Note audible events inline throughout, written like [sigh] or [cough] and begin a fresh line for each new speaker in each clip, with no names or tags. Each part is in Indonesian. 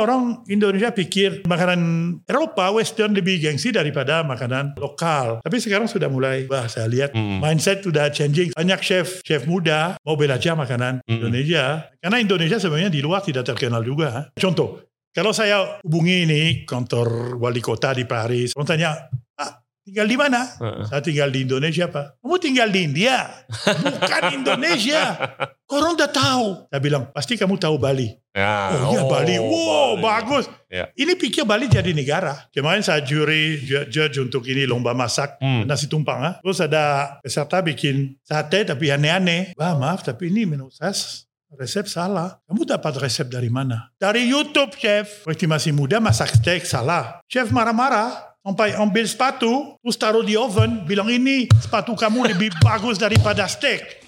orang Indonesia pikir makanan Eropa Western lebih gengsi daripada makanan lokal. Tapi sekarang sudah mulai bah saya lihat mindset sudah changing. Banyak chef chef muda mau belajar makanan Indonesia karena Indonesia sebenarnya di luar tidak terkenal juga. Contoh, kalau saya hubungi ini kantor wali kota di Paris, orang tanya, ah, tinggal di mana?
Heeh.
Saya tinggal di Indonesia, Pak. Kamu tinggal di India, bukan Indonesia. Orang udah tahu. Saya bilang, pasti kamu tahu Bali.
Ya,
Oh, iya Bali. Wow, bagus.
Ya.
Ini pikir Bali jadi negara. Kemarin saya juri ju- judge untuk ini lomba masak
Hmm.
nasi tumpang. ah. Terus ada peserta bikin sate tapi aneh-aneh. Bah, maaf tapi ini menurut saya s- resep salah. Kamu dapat resep dari mana? Dari YouTube, chef. Waktu masih muda masak steak salah. Chef marah-marah. Sampai ambil sepatu, terus taruh di oven, bilang ini sepatu kamu lebih [laughs] bagus daripada steak.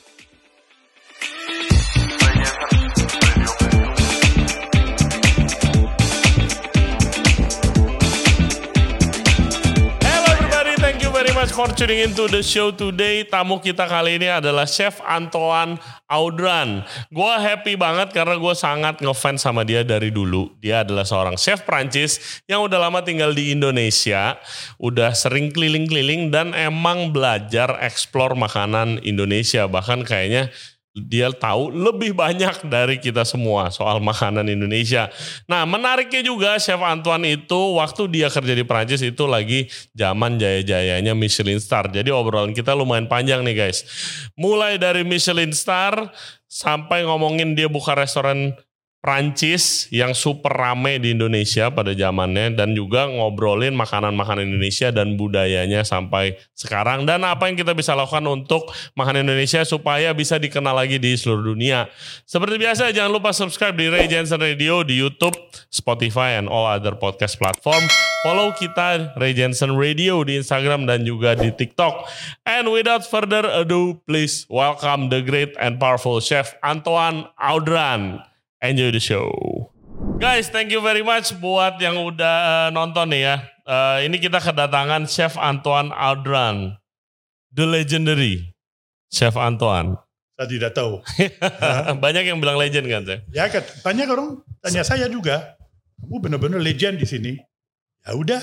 Hello everybody, thank you very much for tuning in to the show today. Tamu kita kali ini adalah Chef Antoine Audran. Gua happy banget karena gue sangat ngefans sama dia dari dulu. Dia adalah seorang chef Prancis yang udah lama tinggal di Indonesia, udah sering keliling-keliling dan emang belajar eksplor makanan Indonesia. Bahkan kayaknya dia tahu lebih banyak dari kita semua soal makanan Indonesia. Nah, menariknya juga Chef Antoine itu waktu dia kerja di Prancis itu lagi zaman jaya-jayanya Michelin Star. Jadi obrolan kita lumayan panjang nih, guys. Mulai dari Michelin Star sampai ngomongin dia buka restoran Prancis yang super rame di Indonesia pada zamannya dan juga ngobrolin makanan-makanan Indonesia dan budayanya sampai sekarang dan apa yang kita bisa lakukan untuk makanan Indonesia supaya bisa dikenal lagi di seluruh dunia. Seperti biasa jangan lupa subscribe di Ray Jensen Radio di YouTube, Spotify and all other podcast platform. Follow kita Ray Jensen Radio di Instagram dan juga di TikTok. And without further ado, please welcome the great and powerful chef Antoine Audran. Enjoy the show. Guys, thank you very much buat yang udah eh, nonton nih ya. Eh, ini kita kedatangan Chef Antoine Audran. The legendary Chef Antoine. [laughs]
Saya tidak tahu.
Banyak yang bilang legend kan, Chef?
Ya kan, banyak orang tanya saya juga. Kamu benar-benar legend di sini. Ya
[laughs]
udah.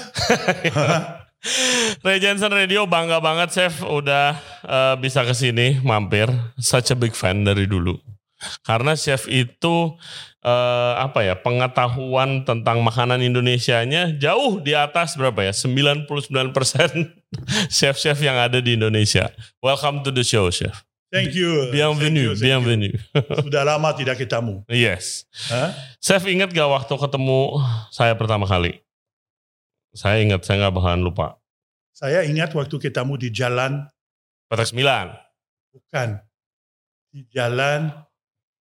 Ray Jensen Radio bangga banget Chef udah eh, bisa kesini mampir. Such a big fan dari dulu. Karena Chef itu eh, apa ya pengetahuan tentang makanan Indonesianya jauh di atas berapa ya 99% [laughs] chef-chef yang ada di Indonesia. Welcome to the show Chef.
Thank you.
Bienvenue,
Thank you, thank you.
bienvenue.
Sudah lama tidak ketemu.
Yes.
Hah?
Chef ingat gak waktu ketemu saya pertama kali? Saya ingat, saya nggak bakalan lupa.
Saya ingat waktu ketemu di jalan,
Petak 9.
bukan. Di jalan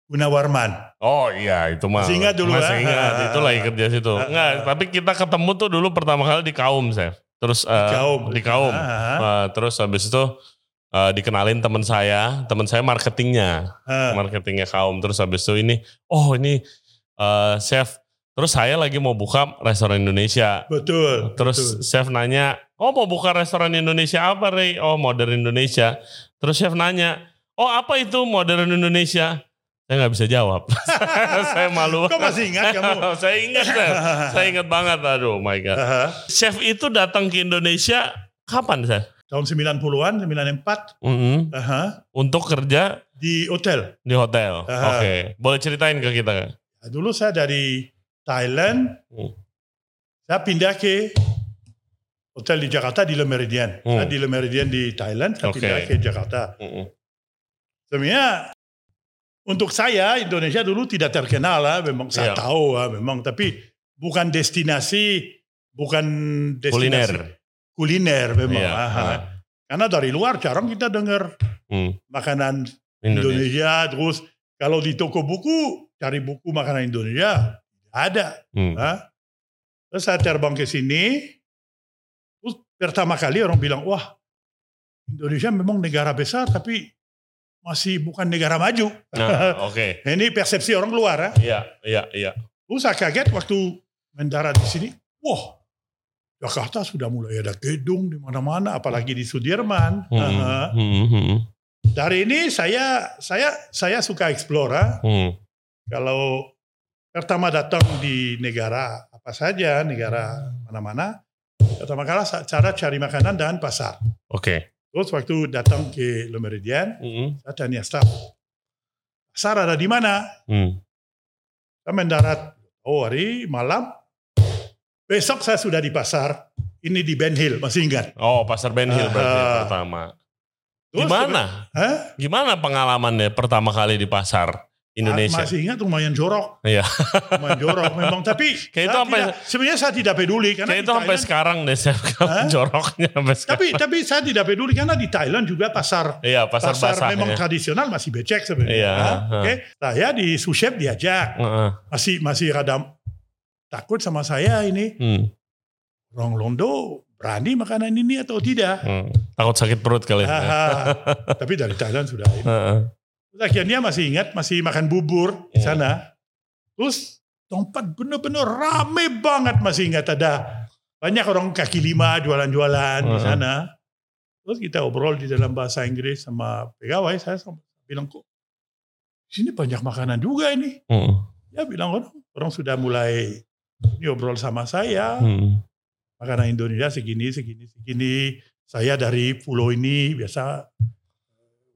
Gunawarman.
Oh iya itu mah.
Masih ingat dulu,
Masih
ya?
ingat,
Ah,
itu
ah,
lagi
ah.
kerja situ.
Ah,
Enggak,
ah.
tapi kita ketemu tuh dulu pertama kali di Kaum, Chef. Terus eh,
Kaum.
di Kaum.
Ah, ah,
Eh, terus habis itu eh, dikenalin teman saya, teman saya marketingnya,
ah.
marketingnya Kaum. Terus habis itu ini, oh ini eh, Chef. Terus saya lagi mau buka restoran Indonesia.
Betul.
Terus chef nanya, oh mau buka restoran Indonesia apa Ray? Oh modern Indonesia. Terus chef nanya, oh apa itu modern Indonesia? Saya nggak bisa jawab. [laughs] saya malu.
betul. Kok masih ingat kamu?
saya ingat, chef. [laughs] saya ingat banget. Aduh, my god.
Ah, ah.
Chef itu datang ke Indonesia kapan, Chef?
Tahun 90-an, 94.
Mm-mm.
ah, ah.
Untuk kerja
Di hotel.
di hotel. Oke,
Ah.
boleh ceritain ke kita nggak?
Nah, Dulu saya dari Thailand,
Hmm.
saya pindah ke hotel di Jakarta di Le Meridian.
Hmm.
Saya di Le Meridian di Thailand, saya
Oke.
pindah ke Jakarta.
Mm-mm.
Sebenarnya untuk saya Indonesia dulu tidak terkenal lah, memang saya
Iya.
tahu lah, memang tapi bukan destinasi, bukan
Kuliner.
destinasi kuliner memang.
Iya.
ah, ah.
Ah.
Karena dari luar jarang kita dengar
Mm.
makanan
Indonesia.
Indonesia, terus kalau di toko buku cari buku makanan Indonesia tidak ada.
Mm.
Hah? Terus saya terbang ke sini, terus pertama kali orang bilang, wah Indonesia memang negara besar tapi masih bukan negara maju.
Nah, oke.
Ini persepsi orang luar. Ya.
Iya, iya, iya.
Terus saya kaget waktu mendarat di sini, wah Jakarta sudah mulai ada gedung di mana-mana, apalagi di Sudirman. Nah,
Mm.
Aha.
Mm, mm, mm.
ya. Hmm, Dari ini saya saya saya suka eksplora.
Mm.
Kalau pertama datang di negara apa saja, negara mana-mana, pertama kali sa- cara cari makanan dan pasar.
Oke.
Terus waktu datang ke Le Meridien,
Mm-mm.
saya tanya staff, pasar ada di mana?
Hmm.
Saya mendarat, oh hari malam, besok saya sudah di pasar, ini di Ben Hill, masih ingat.
Oh, Pasar Ben Hill berarti
Ah.
pertama.
Terus-
Gimana?
Hah?
Gimana pengalamannya pertama kali di pasar
Ah,
Indonesia?
Masih ingat lumayan jorok.
Iya.
Lumayan jorok memang. Tapi
[laughs] Kayak itu
saya
sampai-
tidak- sebenarnya saya tidak peduli. Karena
Kayak
di
itu sampai
Thailand-
sekarang deh, [laughs] saya
kan Hah?
joroknya sampai sekarang. [laughs]
tapi tapi saya tidak peduli karena di Thailand juga pasar
Iya, pasar, basah.
memang
ya.
tradisional masih becek sebenarnya.
Iya,
Hah?
heeh.
Oke, saya di sous chef diajak
Heeh.
masih masih rada takut sama saya ini
Hmm,
orang Londo berani makanan ini atau tidak.
hmm. Takut sakit perut kali
Ah,
ya. [laughs]
Haha. tapi dari Thailand sudah. ini.
Heeh.
Terus akhirnya masih ingat masih makan bubur di
Iya.
sana. Terus tempat bener-bener rame banget masih ingat ada banyak orang kaki lima jualan-jualan di
Heeh.
sana. Terus kita obrol di dalam bahasa Inggris sama pegawai saya sama- bilang kok di sini banyak makanan juga ini.
Hmm,
Ya bilang orang orang sudah mulai ini obrol sama saya
hmm.
makanan Indonesia segini segini segini. Saya dari pulau ini biasa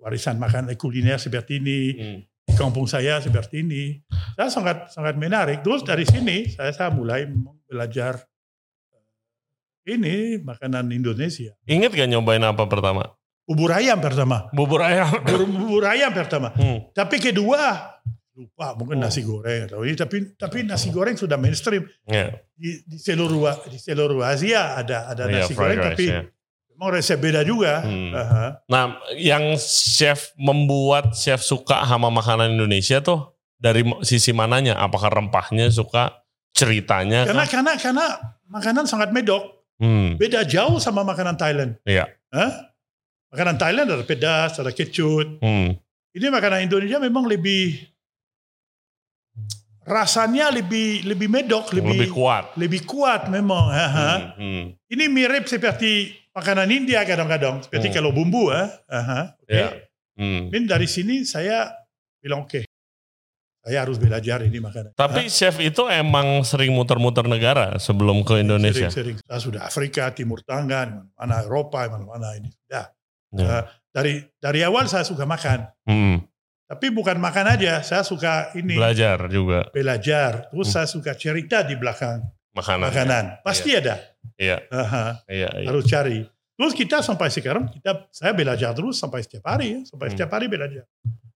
warisan makanan kuliner seperti ini
Hmm.
di kampung saya seperti ini. Saya sangat sangat menarik. Terus dari sini saya, saya mulai belajar eh, ini makanan Indonesia.
Ingat gak nyobain apa pertama?
Bubur ayam pertama,
Bubur ayam.
bubur, bubur ayam pertama.
Hmm.
Tapi kedua lupa
Oh.
mungkin nasi goreng atau ini. Tapi tapi nasi goreng sudah mainstream
Ya.
di, di seluruh di seluruh Asia ada ada
Iya,
nasi
fried
goreng
rice,
tapi Ah,
ya.
memang resep beda juga.
Hmm.
Aha.
Nah, yang chef membuat chef suka sama makanan Indonesia tuh dari mo- sisi mananya? Apakah rempahnya suka, ceritanya?
Karena
kah?
karena karena makanan sangat medok.
Hmm.
beda jauh sama makanan Thailand.
Iya.
Hah? Makanan Thailand ada pedas, ada kecut.
Hmm.
Ini makanan Indonesia memang lebih rasanya lebih lebih medok, lebih
Lebih,
lebih kuat,
kuat.
memang. haha.
Hmm, hmm.
Ini mirip seperti makanan India kadang-kadang, seperti
Hmm.
kalau bumbu, ah. Aha, oke.
Ya. Hmm.
Mungkin dari sini saya bilang oke, saya harus belajar ini makanan.
Tapi chef itu emang sering muter-muter negara sebelum ke Indonesia.
Sering-sering. Saya sudah Afrika, Timur Tengah, mana Eropa, mana ini sudah.
Ya.
Eh, dari dari awal saya suka makan,
Hmm.
tapi bukan makan aja. Saya suka ini
Belajar juga
belajar. Terus
Hmm.
saya suka cerita di belakang
makanan.
makanan. Pasti ada.
Iya.
Aha,
Iya, iya.
Harus cari. Terus kita sampai sekarang kita saya belajar terus sampai setiap hari ya, sampai
Hmm.
setiap hari belajar.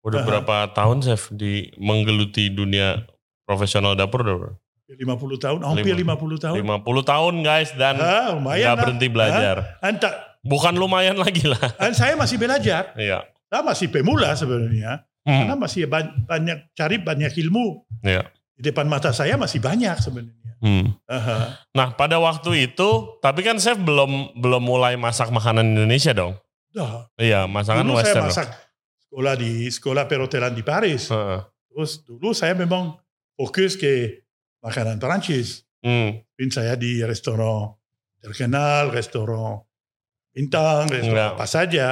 Udah
Aha.
berapa tahun chef di menggeluti dunia profesional dapur udah berapa?
50 tahun, hampir
Lima-
50 tahun.
50 tahun guys
Ah,
dan nggak
lumayan lah.
berhenti belajar.
Ah, anta-
Bukan lumayan lagi lah.
dan saya masih belajar.
Iya.
Saya masih pemula sebenarnya. Karena
Hmm.
masih ba- banyak cari banyak ilmu.
Iya.
Di depan mata saya masih banyak sebenarnya.
Hmm.
Aha.
Nah, pada waktu itu, tapi kan chef belum belum mulai masak makanan Indonesia dong.
Dah,
Iya, masakan
dulu saya
western.
masak sekolah di sekolah perhotelan di Paris.
Heeh.
Terus dulu saya memang fokus ke makanan Perancis.
Hmm.
Mungkin saya di restoran terkenal, restoran bintang, restoran
Enggak.
apa saja.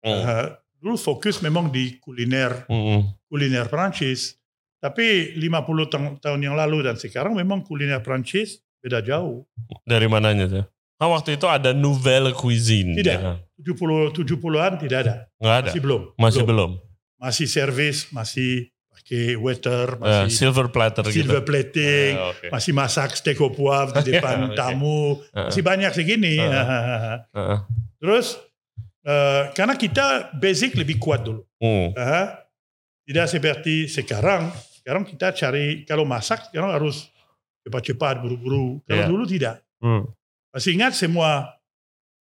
Hmm.
Eh, dulu fokus memang di kuliner
Hmm.
kuliner Perancis. Tapi 50 tahun, tahun yang lalu dan sekarang memang kuliner Perancis beda jauh.
Dari mananya tuh? Nah, waktu itu ada Nouvelle Cuisine.
Tidak.
ya kan?
70 70-an tidak ada.
Nggak ada.
Masih belum.
Masih
belum.
belum.
Masih servis, masih pakai waiter,
Eh,
masih
silver platter
silver
gitu.
plating,
Ah, oke. Iya,
masih masak steak au poivre
[laughs]
di depan
Oke. Ah.
tamu,
Heeh,
masih banyak segini.
Heeh. heeh.
Terus eh, karena kita basic lebih kuat dulu,
Hmm.
Aha. tidak seperti sekarang. Sekarang kita cari kalau masak sekarang harus cepat-cepat buru-buru. Kalau
Iya.
dulu tidak.
Hmm.
Masih ingat semua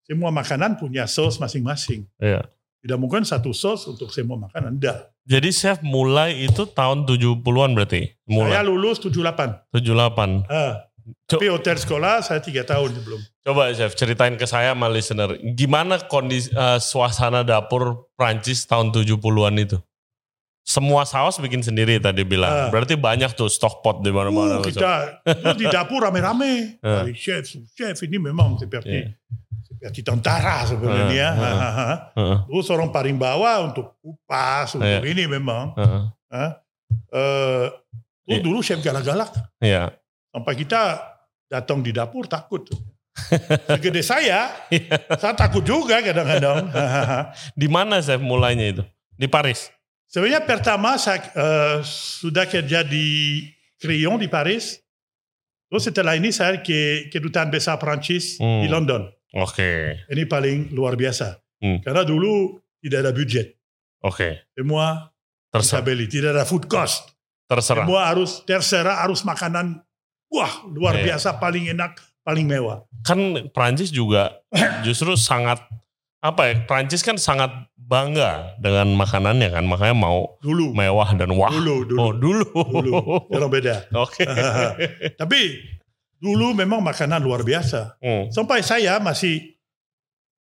semua makanan punya sos masing-masing.
Iya.
Tidak mungkin satu sos untuk semua makanan. Tidak.
Jadi chef mulai itu tahun 70-an berarti?
Saya
Mulai
lulus 78.
78.
Ah.
Co-
Tapi hotel sekolah saya tiga tahun sebelum.
Coba chef ceritain ke saya sama listener, gimana kondisi eh, suasana dapur Prancis tahun 70-an itu? Semua saus bikin sendiri tadi bilang.
Ah.
Berarti banyak tuh stock pot di mana-mana.
Uh,
loh, Chef.
kita terus di dapur rame-rame.
Ah.
Dari chef, sous chef ini memang seperti
Iya.
seperti tentara sebenarnya. ya.
Ah, ah,
Hahaha.
Heeh,
Terus orang
Iya.
paling bawah untuk kupas untuk ini memang.
heeh.
Ah. Eh, Lu
Iya.
ya. Eh, dulu chef galak-galak.
Iya.
Sampai kita datang di dapur
[laughs]
takut. Segede saya,
Iya.
saya takut juga kadang-kadang.
Di mana chef mulainya itu? Di Paris.
Sebenarnya pertama saya eh, sudah kerja di Crayon di Paris. Terus setelah ini saya ke kedutaan besar Prancis
Hmm.
di London.
Oke.
Ini paling luar biasa.
Hmm.
Karena dulu tidak ada budget.
Oke.
Semua bisa
Terserah.
beli, tidak ada food cost.
Terserah.
Semua harus terserah, harus makanan wah luar
Iya.
biasa, paling enak, paling mewah.
Kan Prancis juga justru sangat apa ya? Prancis kan sangat bangga dengan makanannya kan, makanya mau
Dulu,
mewah Oh. dan wah.
dulu, dulu,
Oh dulu.
dulu. Sekarang beda.
[laughs] Oke.
Tapi dulu memang makanan luar biasa.
Hmm.
Sampai saya masih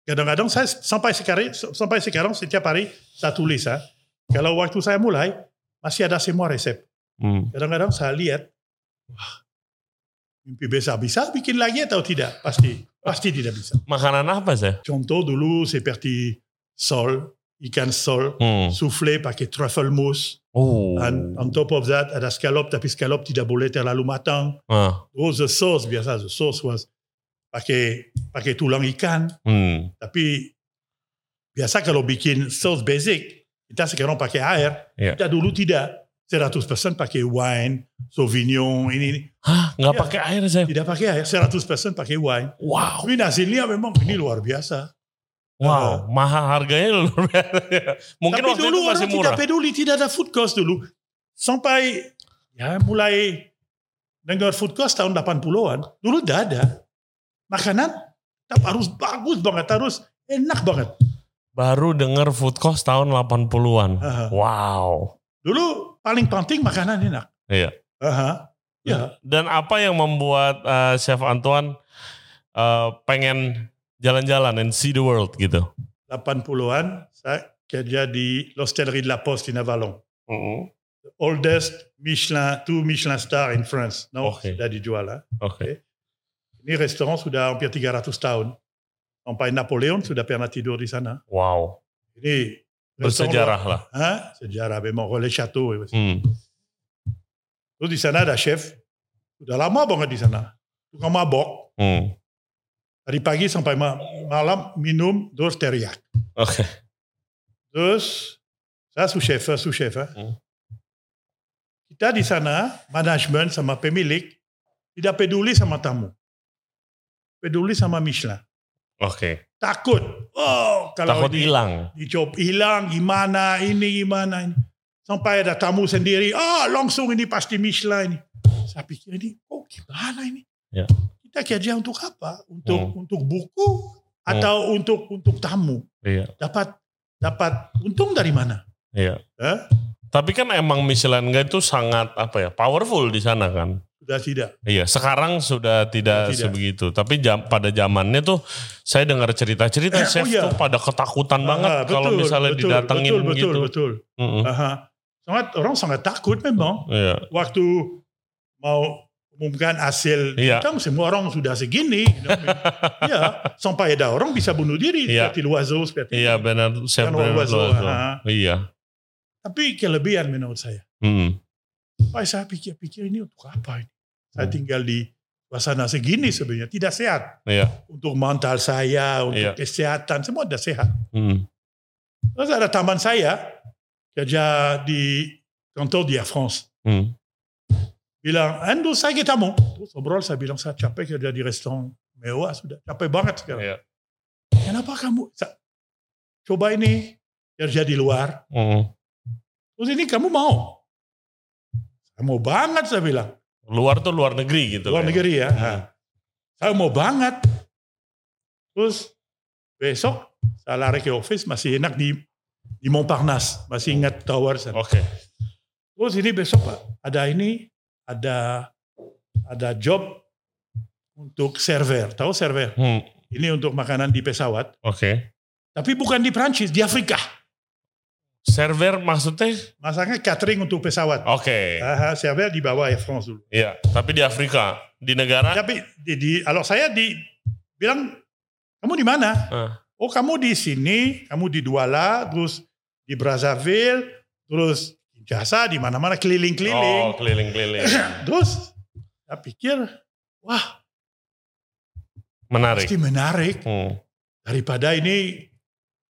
kadang-kadang saya sampai sekarang sampai sekarang setiap hari saya tulis ya. Kalau waktu saya mulai masih ada semua resep.
Hmm.
Kadang-kadang saya lihat wah, mimpi besar bisa bikin lagi atau tidak? Pasti pasti tidak bisa.
Makanan apa sih?
Contoh dulu seperti sol, ikan sol,
Hmm.
soufflé pakai truffle mousse.
Oh.
And on top of that ada scallop tapi scallop tidak boleh terlalu matang.
Ah.
Terus the sauce biasa the sauce was pakai pakai tulang ikan
Hmm.
tapi biasa kalau bikin sauce basic kita sekarang pakai air
Iya.
kita dulu tidak 100% pakai wine sauvignon ini, ini.
Hah, nggak
Iya.
pakai air chef?
tidak pakai air 100% pakai wine
Wow.
tapi hasilnya memang ini luar biasa
Wow, mahal harganya luar biasa. [laughs] Mungkin
Iya. tapi
waktu
dulu
itu masih
orang
murah.
tidak peduli tidak ada food cost dulu sampai ya mulai dengar food cost tahun 80-an dulu tidak ada makanan tetap harus bagus banget harus enak banget
Baru dengar food cost tahun 80-an.
Aha.
Wow.
Dulu paling penting makanan enak.
Iya.
Aha. Ya,
Dan apa yang membuat eh, Chef Antoine eh, pengen jalan-jalan and see the world gitu?
80-an saya kerja di l'hostellerie de la Poste in Avalon.
Hmm.
The oldest Michelin, two Michelin star in France. No,
Oke.
sudah dijual. Lah.
Oke.
Ini restoran sudah hampir 300 tahun. Sampai Napoleon sudah pernah tidur di sana.
Wow.
Ini restoran-
Bersejarah lah.
Hah? Sejarah memang Relais Chateau. ya,
Hmm.
Terus di sana ada chef. Sudah lama banget di sana. Tukang mabok.
Hmm.
Dari pagi sampai ma- malam minum terus teriak.
Oke.
Terus saya sous chef, sous chef. eh.
Hmm.
Kita di sana manajemen sama pemilik tidak peduli sama tamu, peduli sama Michelin.
Oke.
Takut, oh kalau
Takut
ini
hilang.
dicob hilang gimana ini gimana ini. Sampai ada tamu sendiri, ah langsung ini pasti Michelin ini. Saya pikir ini, oh gimana ini?
Ya.
Kita kerja untuk apa? Untuk
Hmm.
untuk buku atau untuk untuk tamu?
Iya.
Dapat dapat untung dari mana?
Iya.
Hah?
Tapi kan emang Michelin Guide itu sangat apa ya powerful di sana kan?
Sudah tidak.
Iya, sekarang sudah tidak,
Tidak.
sebegitu. Tapi jam, pada zamannya tuh saya dengar cerita-cerita
Eh, oh
chef
iya.
tuh pada ketakutan banget
Ah,
kalau
betul,
misalnya
betul,
didatengin
betul, betul,
gitu.
Betul,
Mm-mm.
Aha. Sangat orang sangat takut memang
Iya,
waktu mau umumkan hasil
Iya.
hitam semua orang sudah segini.
[laughs]
you know. ya, sampai ada orang bisa bunuh diri
Iya.
seperti Loiseau seperti
iya benar chef
Kan
benar
Loiseau,
Loiseau.
ah.
Iya.
Tapi kelebihan menurut saya.
Mm.
Sampai saya pikir-pikir ini untuk apa ini?
Hmm.
Saya tinggal di suasana segini sebenarnya tidak sehat.
Iya.
Untuk mental saya, untuk
Iya.
kesehatan semua tidak sehat.
Mm.
Terus ada teman saya kerja di kantor di Air France.
Mm.
bilang, Ando saya kita mau. Terus obrol saya bilang, saya capek kerja di restoran mewah sudah. Capek banget sekarang.
Iya.
Kenapa kamu? Sa- coba ini kerja di e luar.
Mm.
Terus ini kamu mau? Saya mau banget saya bilang.
Luar tuh luar negeri gitu.
Luar
kan.
negeri ya.
Hmm.
Ha. Saya mau banget. Terus besok saya lari ke office masih enak di di Montparnasse. Masih ingat tower sana.
Oke.
Terus ini Oh, besok Pak, ada ini, ada ada job untuk server. Tahu server?
Mm.
Ini untuk makanan di pesawat.
Oke.
Tapi bukan di Prancis, di Afrika.
Server maksudnya?
Masaknya catering untuk pesawat.
Oke.
Aha, server di bawah Air France dulu.
Iya, tapi di Afrika, di negara
Tapi di, di- alors saya di bilang kamu di mana?
Ah.
Oh kamu di sini, kamu di Douala, terus di Brazzaville, terus jasa di mana-mana keliling-keliling.
Oh, keliling-keliling.
[clears throat] Terus saya pikir, wah
Menarik.
pasti menarik
Hmm.
daripada ini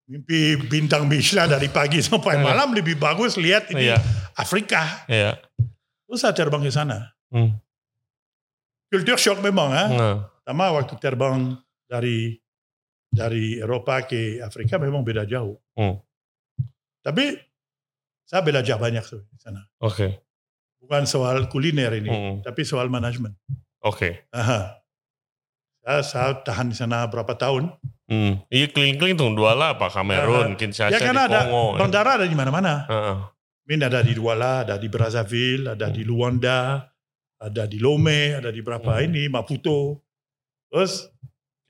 mimpi bintang Michelin dari pagi [laughs] sampai
Iya.
malam lebih bagus lihat ini
Iya,
Afrika.
iya.
Terus saya terbang ke sana.
Hmm.
Kultur shock memang, ha?
Nah,
Sama waktu terbang dari dari Eropa ke Afrika memang beda jauh.
Hmm.
Tapi saya belajar banyak tuh di sana.
Oke.
Bukan soal kuliner ini,
Hmm.
tapi soal manajemen.
Oke.
Aha. Saya, saya tahan di sana berapa tahun.
Hmm. Iya keliling-keliling tuh Douala apa Kamerun,
ya
Kinshasa,
karena
di
ada
Kongo.
bandara ada di mana-mana.
Heeh.
Min ada di Douala, ada di Brazzaville, ada di Luanda, ada di Lome, ada di berapa
Hmm.
ini, Maputo. Terus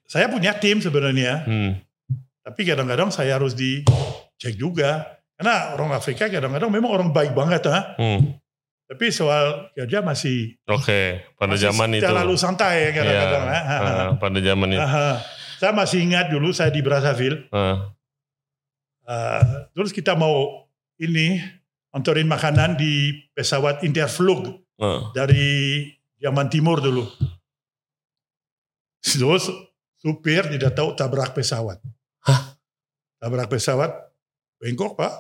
saya punya tim sebenarnya.
Hmm.
Tapi kadang-kadang saya harus dicek juga. Karena orang Afrika kadang-kadang memang orang baik banget. Ha?
Hmm.
Tapi soal kerja masih,
Oke, pada
masih
zaman itu.
terlalu santai ya kadang-kadang.
Iya.
ha? Ha, ha.
Heeh, Iya. pada zaman itu.
Aha. Saya masih ingat dulu saya di Brazzaville.
Heeh.
Uh, terus kita mau ini, anterin makanan di pesawat Interflug
Heeh.
dari Jerman Timur dulu. Terus supir tidak tahu tabrak pesawat. Tabrak pesawat, bengkok pak.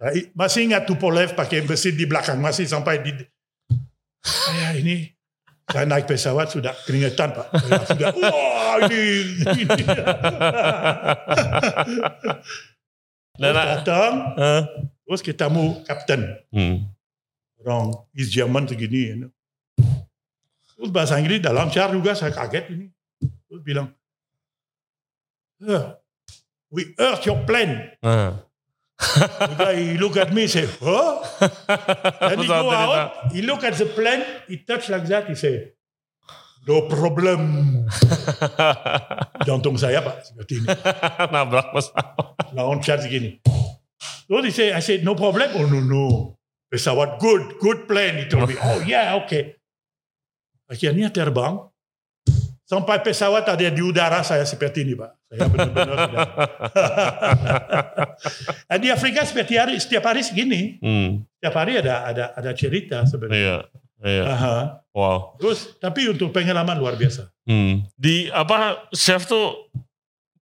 Saya i- masih ingat Tupolev pakai mesin di belakang, masih sampai di... Saya ini, saya naik pesawat sudah keringetan pak. Saya sudah, wah ini, ini. [laughs]
Dan
Terus datang,
Nah, Heeh.
terus ketemu kapten.
Hmm.
orang East German segini. You know. Terus bahasa Inggris dalam car juga saya kaget ini. Terus bilang, "Sir, we earth your plan.
Heeh.
The guy he look at me say, huh? And he go
Pesawat ini,
out, he look at the plane, he touch like that, he say, no problem. Jantung saya pak, seperti ini.
[laughs] Nabrak pesawat.
Lawan car segini. Terus he say, I say, no problem. Oh no, no. Pesawat good, good plane. He told me, oh yeah, okay. Akhirnya terbang. Sampai pesawat ada di udara saya seperti ini Pak. Saya benar-benar
[laughs]
sudah. Nah, di Afrika seperti hari, setiap hari segini.
Hmm.
Setiap hari ada ada ada cerita sebenarnya.
Iya. Iya.
Aha.
Wow.
Terus, tapi untuk pengalaman luar biasa.
Hmm. Di apa chef tuh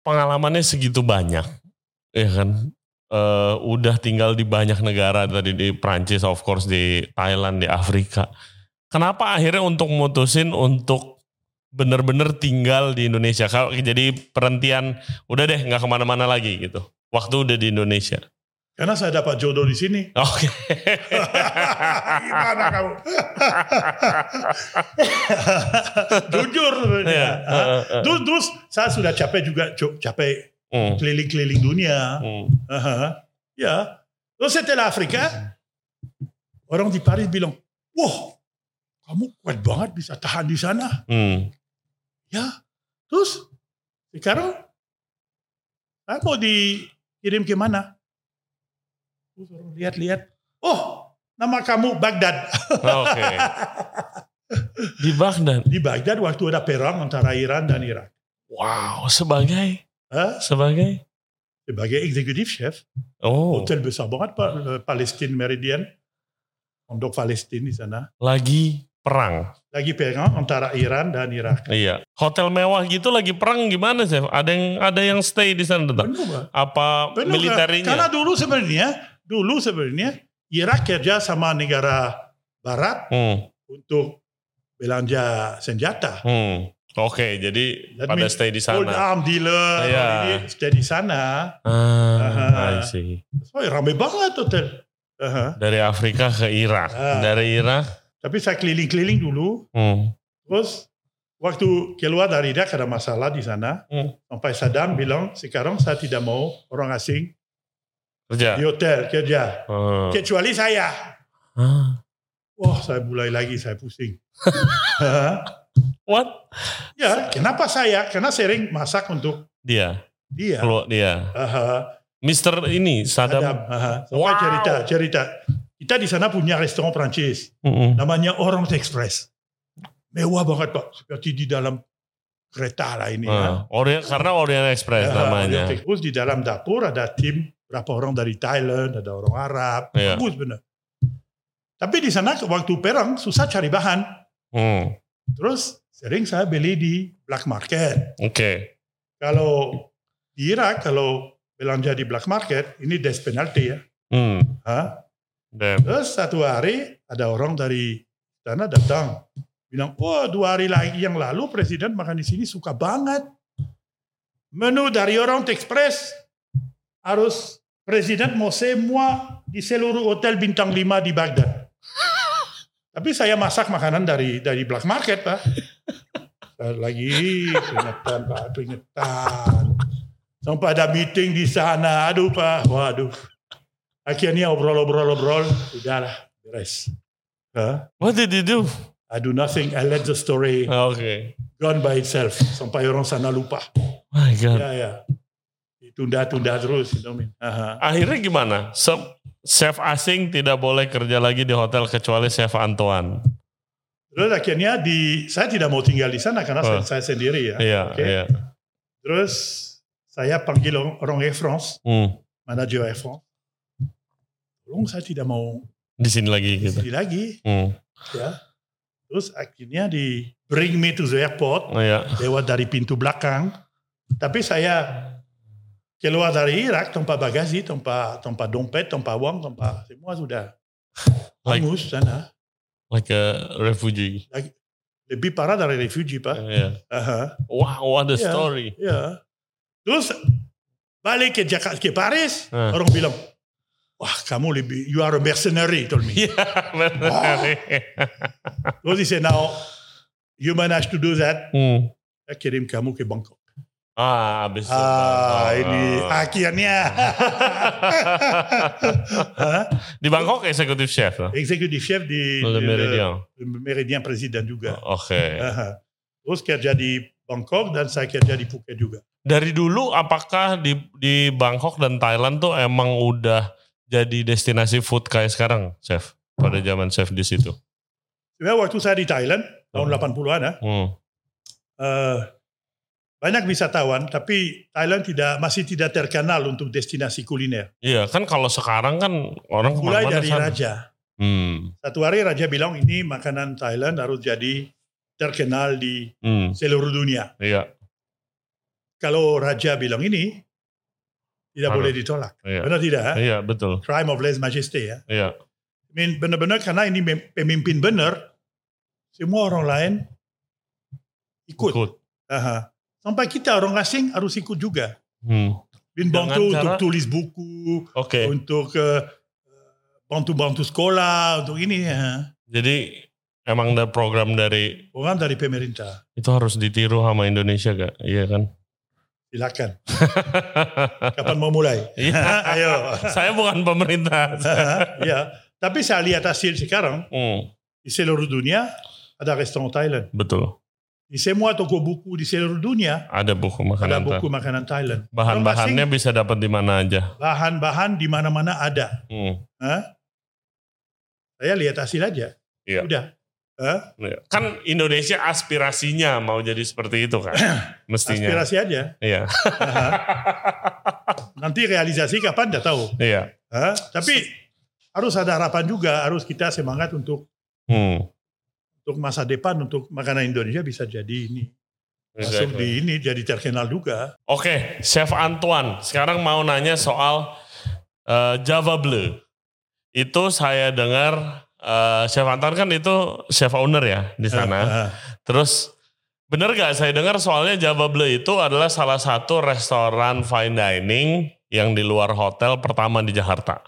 pengalamannya segitu banyak, ya kan? Eh, udah tinggal di banyak negara tadi di Prancis, of course di Thailand, di Afrika. Kenapa akhirnya untuk mutusin untuk bener-bener tinggal di Indonesia? Kalau jadi perhentian udah deh nggak kemana-mana lagi gitu. Waktu udah di Indonesia. [laughs]
Karena saya dapat jodoh di sini.
Oke.
Gimana kamu? [laughs] Jujur sebenarnya. Ah.
Iya. Heeh, heeh.
Terus, terus saya sudah capek juga, cu- capek
Hmm,
keliling-keliling dunia.
hmm.
Aha. Ya. Terus setelah Afrika, orang di Paris bilang, wah, kamu kuat banget bisa tahan di sana.
Hmm.
Ya. Terus, sekarang, saya mau dikirim ke mana? Terus orang lihat-lihat, oh, nama kamu Baghdad.
Oke. Di Baghdad.
Di Baghdad waktu ada perang antara Iran dan Irak.
Wow, sebagai
Hah?
sebagai
Sebagai eksekutif chef,
oh
hotel besar banget Pak, eh, Palestine Meridian. Untuk Palestina di sana.
lagi perang
Lagi perang antara Iran dan Irak.
iya hotel mewah gitu lagi perang gimana sih ada yang ada yang stay di sana tetap
Penuh Pak.
apa
Penuh, Pak. Karena
militernya
dulu sebenarnya, dulu sebenarnya Irak kerja sama negara barat
hmm,
untuk belanja senjata.
hmm. oke jadi
That
pada
means
stay di
Old
sana
arm dealer,
Iya.
ini stay di sana.
ah I see.
Oh, rame banget hotel. Aha.
dari Afrika ke Irak
Ah.
dari Irak
Tapi saya keliling-keliling dulu,
hmm.
Terus waktu keluar dari Irak ada masalah di sana.
Hmm.
Sampai Saddam bilang sekarang saya tidak mau orang asing di Iya.
kerja
hotel kerja
Hmm.
kecuali saya.
Ah.
Wah saya mulai lagi saya pusing.
what
ya kenapa saya? Karena sering masak untuk
dia
dia.
keluar dia
Aha,
Mister ini
Saddam.
Saddam
aha. Sampai
Wow.
cerita cerita. Kita di sana punya restoran Prancis
Mm-mm.
namanya Orange Express. Mewah banget pak seperti di dalam kereta lah ini. ya.
Ah, Orient- karena Orient Express
Ya,
namanya
Orient Express. Terus di dalam dapur ada tim berapa orang dari Thailand, ada orang Arab,
Iya.
bagus bener. Tapi di sana waktu perang susah cari bahan,
Hmm.
terus sering saya beli di black market.
Oke.
Kalau di Irak kalau belanja di black market ini death penalty ya.
Hmm.
Hah?
Dan.
Terus satu hari ada orang dari sana datang bilang, oh dua hari lagi yang lalu presiden makan di sini suka banget menu dari Orient Express harus presiden mau semua di seluruh hotel bintang 5 di Baghdad. Tapi saya masak makanan dari dari black market pak. Saya Lagi peringatan pak, peringatan. Sampai ada meeting di sana, aduh pak, waduh. Akhirnya obrol-obrol-obrol, udahlah beres. Huh?
What did you do? Ah,
I do nothing, I let the story
Oke.
gone by itself. Sampai orang sana lupa.
My God.
Ya, ya. Ditunda-tunda terus, you know what I mean? Aha.
Akhirnya gimana? Se- Chef asing tidak boleh kerja lagi di hotel kecuali Chef Antoine.
Terus akhirnya di, saya tidak mau tinggal di sana karena
Oh.
saya, saya sendiri ya.
Iya,
Oke.
iya.
Terus saya panggil orang orang Air France,
Hmm.
manajer Air France. Tolong saya tidak mau
Di sini lagi gitu.
pergi lagi.
Hmm.
Ya. Terus akhirnya di bring me to the airport
Iya.
lewat dari pintu belakang. Tapi saya keluar dari Irak tanpa bagasi, tanpa tanpa dompet, tanpa uang, tanpa semua sudah
Like-
hangus sana.
Like a refugee.
Lebih parah dari refugee pak.
Iya.
Aha.
Wow, what a
Iya.
story.
Ya. Terus balik ke Jakarta ke Paris,
Ah.
orang bilang, wah kamu lebih, you are a mercenary, told me.
[laughs] Iya, benar.
Terus dia say, now you manage to do that,
Hmm.
saya kirim kamu ke Bangkok.
Ah, habis.
Ah,
itu.
ini akhirnya. Hah?
Di Bangkok eksekutif chef. ya?
Executive chef di
Le
di-
Méridien. Oh,
di Meridian Presiden juga.
Oke.
Aha. Terus kerja di Bangkok dan saya kerja di Phuket juga.
Dari dulu apakah di di Bangkok dan Thailand tuh emang udah jadi destinasi food kayak sekarang, chef? Pada zaman chef di situ.
Sebenarnya waktu saya di Thailand, tahun
Hmm.
80-an ya,
Hmm.
eh, banyak wisatawan, tapi Thailand tidak masih tidak terkenal untuk destinasi kuliner.
Iya, kan kalau sekarang kan orang
Mulai
kemana-mana
dari
sana.
raja.
Hmm.
Satu hari raja bilang ini makanan Thailand harus jadi terkenal di
Hmm.
seluruh dunia.
Iya,
Kalau raja bilang ini tidak
Harus.
boleh ditolak.
iya.
Benar tidak? ya?
Iya, betul.
Crime of lese majesty ya.
Iya.
I mean, benar-benar karena ini mem- pemimpin benar, semua orang lain ikut.
Ikut.
Aha. Sampai kita orang asing harus ikut juga.
Hmm.
Bin
Jangan
bantu untuk
karena-
tulis buku,
Oke.
untuk eh, bantu-bantu sekolah, untuk ini ya.
Jadi emang ada program dari
Orang dari pemerintah,
itu harus ditiru sama Indonesia gak? Iya
[laughs]
kan?
silakan. Kapan mau mulai?
Iya.
Ayo.
Saya bukan pemerintah.
[laughs] ya. Tapi saya lihat hasil sekarang
Hmm,
di seluruh dunia ada restoran Thailand.
betul.
Di semua toko buku di seluruh dunia
Ada
ada
buku makanan. Thai.
buku makanan Thailand.
Bahan-bahannya
Orang
bisa dapat di mana aja.
asing, bahan-bahan di mana-mana ada.
Hmm.
Hah? Saya lihat hasil aja.
Iya.
Udah. Hah?
Iya. Kan Indonesia aspirasinya mau jadi seperti [clears throat] itu kan? Mestinya.
Aspirasi aja.
Iya.
Aha. Nanti realisasi kapan tidak tahu.
[laughs] Iya.
Hah? Tapi harus ada harapan juga, harus kita semangat untuk
Hmm.
untuk masa depan untuk makanan Indonesia bisa jadi ini masuk
Exactly.
di ini jadi terkenal juga.
Oke, Chef Antoine, sekarang mau nanya soal eh, Java Bleu. Itu saya dengar eh, Chef Antoine kan itu chef owner ya di sana.
Ah, ah.
Terus bener gak saya dengar soalnya Java Bleu itu adalah salah satu restoran fine dining yang di luar hotel pertama di Jakarta.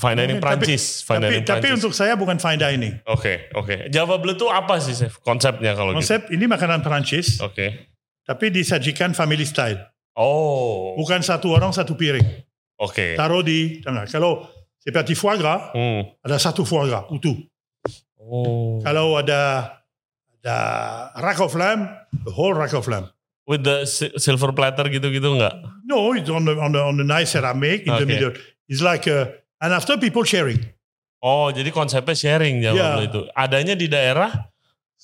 Fine dining
Tapi-
Prancis, fine
tapi
dining
tapi
Prancis.
untuk saya bukan fine dining.
Oke, oke. Java Bleu itu apa sih chef konsepnya kalau gitu?
Konsep ini makanan Perancis,
Oke.
tapi disajikan family style.
Oh. Oke.
Bukan satu orang satu piring. Taruh di tengah. Kalau seperti foie gras,
Hmm.
ada satu foie gras utuh.
Oh.
Kalau ada ada rack of lamb, the whole rack of lamb.
With the si- silver platter gitu-gitu nggak?
No, it's on the on the, on the nice ceramic in the
Okay.
middle. It's like uh, and after people sharing.
Oh, jadi konsepnya sharing jawab
Iya.
lo itu. Adanya di daerah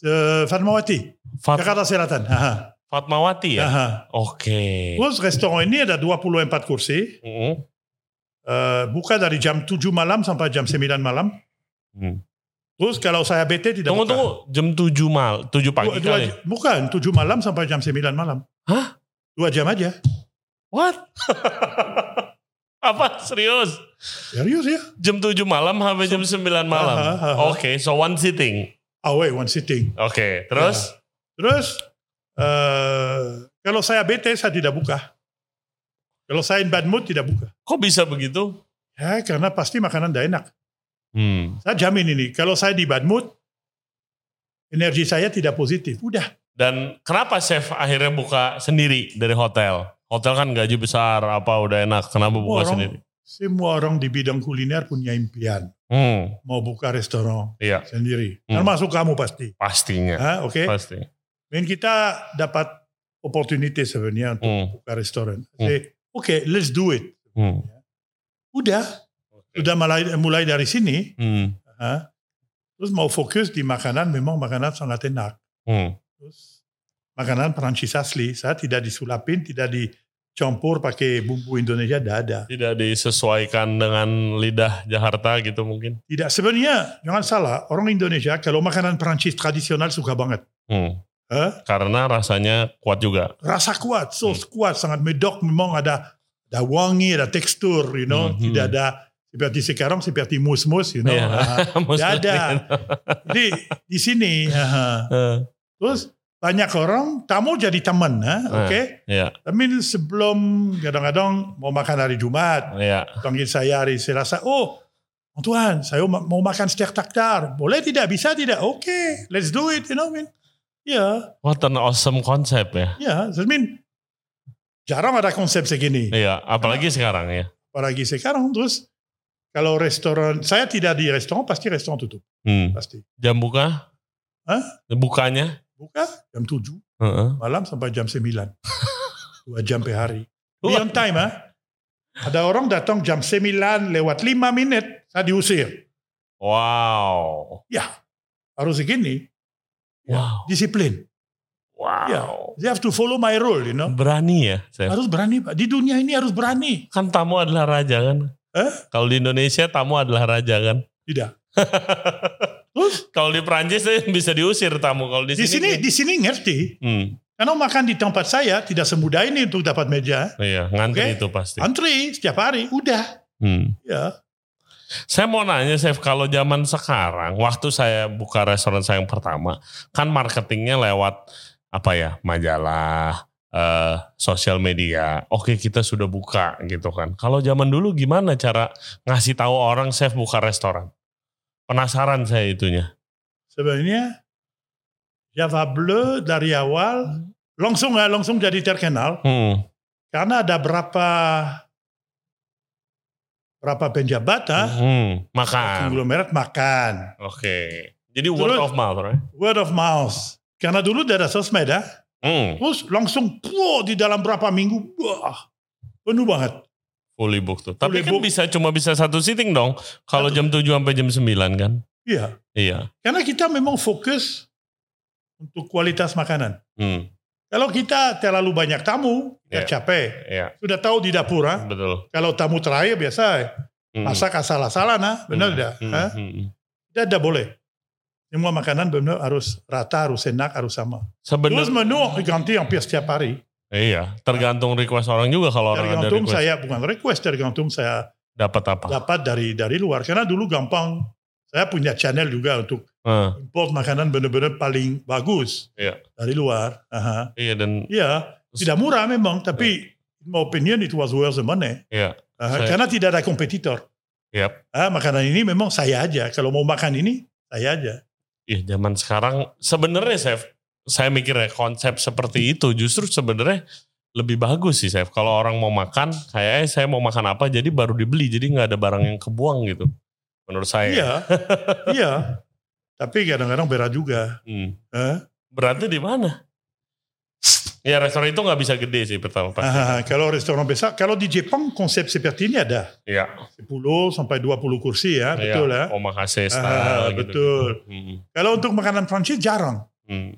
Uh, Fatmawati,
Fat-
Jakarta Selatan. Aha.
Fatmawati ya.
Aha.
Oke. Hmm.
Terus restoran ini ada 24 kursi.
Mm-mm.
eh, buka dari jam 7 malam sampai jam 9 malam.
Hmm.
Terus kalau saya bete tidak
Tunggu
buka.
tunggu jam 7 mal 7
Dua-
pagi
dua-
kali. ya?
bukan, 7 malam sampai jam 9 malam.
Hah?
Dua jam aja.
What? [laughs] Apa serius?
Serius ya?
Jam 7 malam sampai jam 9 malam.
Aha, aha.
Oke, so one sitting.
Away one sitting.
Oke, terus
Terus, eh, kalau saya bete saya tidak buka. Kalau saya in bad mood tidak buka.
kok bisa begitu?
Ya, karena pasti makanan tidak enak.
Hmm.
Saya jamin ini. Kalau saya di bad mood, energi saya tidak positif. Udah.
Dan kenapa chef akhirnya buka sendiri dari hotel? Hotel kan gaji besar, apa udah enak, kenapa
Semua
buka
orang,
sendiri?
semua orang di bidang kuliner punya impian.
Hmm,
Mau buka restoran
iya,
sendiri.
Hmm.
Termasuk kamu pasti.
pastinya,
Hah, Oke?
pasti.
Dan kita dapat opportunity sebenarnya untuk
Hmm,
buka restoran.
Hmm.
Say, Oke, let's do it.
hmm,
Udah. Udah mulai, mulai dari sini.
hmm,
Hah? Terus mau fokus di makanan, memang makanan sangat enak.
hmm.
Terus makanan Perancis asli, saya tidak disulapin, tidak dicampur pakai bumbu Indonesia, tidak ada.
Tidak disesuaikan dengan lidah Jakarta gitu mungkin.
Tidak, sebenarnya jangan salah, orang Indonesia kalau makanan Perancis tradisional suka banget.
Hmm.
Hah?
Karena rasanya kuat juga.
Rasa kuat, sos
Hmm.
kuat, sangat medok, memang ada, ada wangi, ada tekstur, you know,
Mhm.
tidak ada seperti sekarang, seperti mus-mus, you know.
Iya.
Ah, Tidak ada.
[laughs] Maksudnya- gitu.
Jadi di sini,
[laughs]
ah.
Eh,
terus banyak orang tamu jadi teman, ah, oke?
Iya,
Tapi sebelum kadang-kadang mau makan hari Jumat,
iya.
panggil saya hari Selasa, oh Antoine, saya ma- mau makan steak tartar. Boleh tidak? Bisa tidak? Oke, let's do it, you know what I mean? Ya,
What an awesome konsep ya.
ya, I mean, jarang ada konsep segini.
Iya, apalagi sekarang ya.
Apalagi sekarang, terus kalau restoran, saya tidak di restoran, pasti restoran tutup,
Hmm.
pasti.
Jam buka?
Hah?
Bukanya?
Buka jam 7
Heeh.
malam sampai jam 9. Dua jam per hari. Be
Wah.
on time, ah. Ada orang datang jam 9 lewat 5 menit, saya diusir.
Wow.
Ya, harus begini. Ya.
Wow.
Disiplin.
Wow.
Ya. They have to follow my rule, you know.
Berani ya, Chef?
Harus berani, Pak. Di dunia ini harus berani.
Kan tamu adalah raja kan?
Eh?
Kalau di Indonesia tamu adalah raja kan? [laughs]
Tidak. Terus
Kalau di Prancis eh, bisa diusir tamu. Kalau di,
di sini di sini ngerti.
Hmm,
Karena makan di tempat saya tidak semudah ini untuk dapat meja.
iya, ngantri
Oke.
itu pasti.
Antri setiap hari, udah.
Hmm.
Ya,
Saya mau nanya Chef, kalau zaman sekarang, waktu saya buka restoran saya yang pertama, kan marketingnya lewat apa ya, majalah, eh, sosial media. Oke, kita sudah buka gitu kan. Kalau zaman dulu gimana cara ngasih tahu orang Chef buka restoran? Penasaran saya itunya.
sebenarnya Java Bleu dari awal langsung ya, langsung jadi terkenal
Hmm.
karena ada berapa berapa penjabat ah,
Hmm, Makan.
konglomerat makan.
Oke. Jadi word
Terus-
of mouth, right?
Word of mouth. Karena dulu tidak ada sosmed ah.
Hmm.
Terus langsung puh, di dalam berapa minggu, wah, penuh banget.
Fully booked tuh.
Fully
Tapi kan
booked.
bisa cuma bisa satu sitting dong. Kalau jam 7 sampai jam 9 kan.
Iya,
Iya.
karena kita memang fokus untuk kualitas makanan.
Hmm.
Kalau kita terlalu banyak tamu, kita
Iya.
capek.
Iya,
Sudah tahu di dapur, ah.
betul.
kalau tamu terakhir biasa
Hmm.
masak asal-asalan, ah. benar tidak?
Hmm,
Ah?
hmm, hmm.
Tidak ada boleh. Semua makanan benar harus rata, harus enak, harus sama. Terus
Sebenarnya
menu ganti hampir setiap hari.
iya, tergantung request orang juga kalau orang ada
Tergantung
request Ah.
saya, bukan request, tergantung saya
dapat apa.
dapat dari dari luar karena dulu gampang saya punya channel juga untuk
Heeh.
import makanan benar-benar paling bagus
Iya.
dari luar Aha.
iya dan
ya tidak murah memang tapi in my opinion it was worth the money
Iya.
Aha,
Saya- Iya.
karena tidak ada kompetitor
Yap.
Ah, makanan ini memang saya aja kalau mau makan ini saya aja
iya zaman sekarang sebenarnya chef saya mikirnya konsep seperti itu justru sebenarnya lebih bagus sih chef kalau orang mau makan kayaknya saya mau makan apa jadi baru dibeli jadi nggak ada barang yang kebuang gitu menurut [laughs] saya.
iya iya tapi kadang-kadang berat juga
Hmm.
Hah?
Berarti di mana? Ya restoran itu nggak bisa gede sih pertama pasti.
Aha, kalau restoran besar kalau di Jepang konsep seperti ini ada
Iya.
10 sampai 20 kursi ya betul ya Ah,
Omakase style gitu.
betul.
Hmm,
Kalau untuk makanan Prancis jarang.
hmm.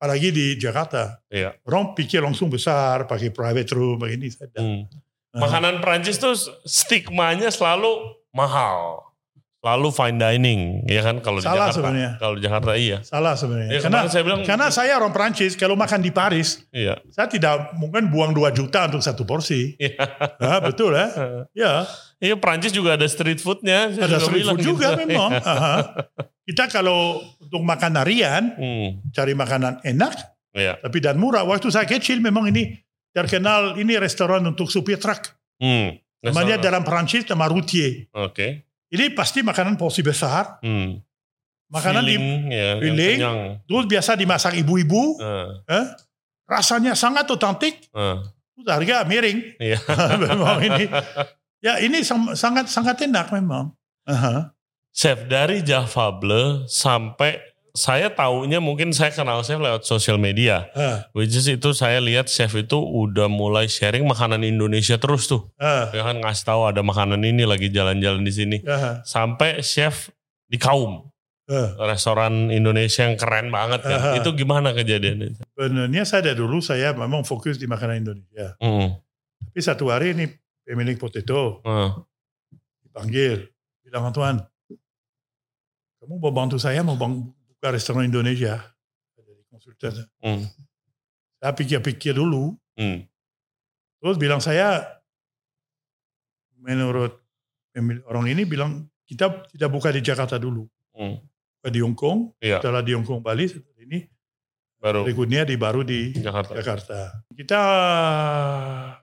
apalagi di Jakarta.
Iya.
Orang pikir langsung besar, pakai private room, begini. Tidak.
Hmm.
Nah.
Makanan Prancis tuh stigmanya selalu mahal. Selalu fine dining, ya kan kalau di
Salah
Jakarta.
sebenarnya.
Kalau di Jakarta iya.
Salah sebenarnya.
Ya,
karena,
kemarin saya bilang-
karena saya orang Perancis, kalau makan di Paris,
Iya. [laughs]
saya tidak mungkin buang 2 juta untuk satu porsi.
Iya. [laughs]
Ah, betul ya. Ya,
Iya Prancis juga ada street foodnya. saya
ada
juga
street
bilang
food
gitu. [laughs]
juga memang. Aha. Kita kalau untuk makan harian,
Hmm.
cari makanan enak,
Iya.
tapi dan murah. Waktu saya kecil memang ini terkenal, ini restoran untuk supir truk.
Hmm.
Namanya
Restoran.
dalam Perancis nama routier.
Oke.
Ini pasti makanan porsi besar.
Hmm.
Makanan di,
Feeling, ya, yang
feeling.
kenyang.
terus biasa dimasak ibu-ibu.
Eh,
eh. Rasanya sangat otentik.
eh.
Terus harga miring.
Iya.
[laughs] memang ini. Ya ini sam- sangat sangat enak memang. Aha.
Chef dari Java Bleu sampai saya taunya mungkin saya kenal chef lewat sosial media.
Ah,
Which is itu saya lihat chef itu udah mulai sharing makanan Indonesia terus tuh.
ah,
Ya kan ngasih tahu ada makanan ini lagi jalan-jalan di sini.
ah,
Sampai chef di Kaum,
ah.
restoran Indonesia yang keren banget kan.
Aha.
Itu gimana kejadiannya?
Sebenarnya saya dari dulu saya memang fokus di makanan Indonesia.
Mm.
Tapi satu hari ini pemilik potato
Eh,
dipanggil bilang Antoine kamu mau bantu saya mau bang- buka restoran Indonesia jadi konsultan
Hmm.
saya pikir-pikir dulu
mm.
terus bilang saya menurut pemilik- orang ini bilang kita tidak buka di Jakarta dulu
Hmm.
buka di Hong Kong
Iya.
setelah di Hong Kong Bali setelah ini
Baru
berikutnya di baru di
Jakarta.
Jakarta gitu. kita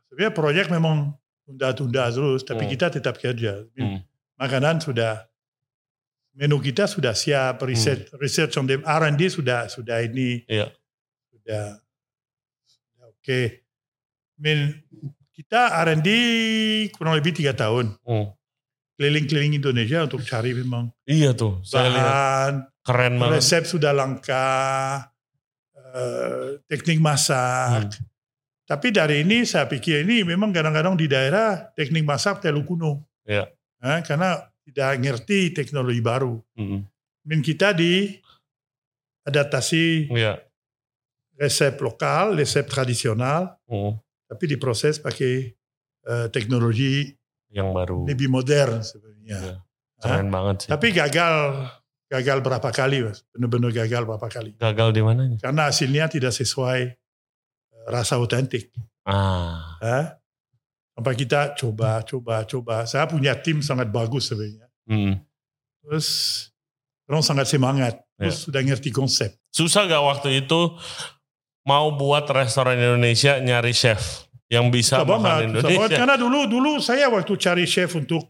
sebenarnya proyek memang tunda-tunda terus tapi
Hmm.
kita tetap kerja
Hmm.
makanan sudah menu kita sudah siap riset research on the R&D sudah sudah ini
Hmm. Iya.
sudah, sudah oke Men- kita R&D kurang lebih tiga tahun
Mm.
keliling-keliling Indonesia untuk cari memang
Iya tuh, saya lihat
bahan
keren banget.
resep sudah langka eh, teknik masak tapi dari ini saya pikir ini memang kadang-kadang di daerah teknik masak terlalu kuno.
Iya.
Eh, karena tidak ngerti teknologi baru.
Mm.
Dan kita di adaptasi
Iya.
resep lokal, resep tradisional,
Mm.
tapi diproses pakai eh, teknologi
Yang baru.
lebih modern sebenarnya.
Iya. Keren banget sih.
Tapi gagal, gagal berapa kali, Mas. benar-benar gagal berapa kali.
Gagal di mananya?
Karena hasilnya tidak sesuai eh, rasa otentik.
Ah.
Hah? Sampai kita coba, coba, coba. Saya punya tim sangat bagus sebenarnya.
Mm.
Terus orang sangat semangat. Terus
Ya.
sudah ngerti konsep.
Susah gak waktu itu mau buat restoran Indonesia nyari chef yang bisa
Susah banget, kan?
makan
susah banget.
Indonesia?
Karena dulu, dulu saya waktu cari chef untuk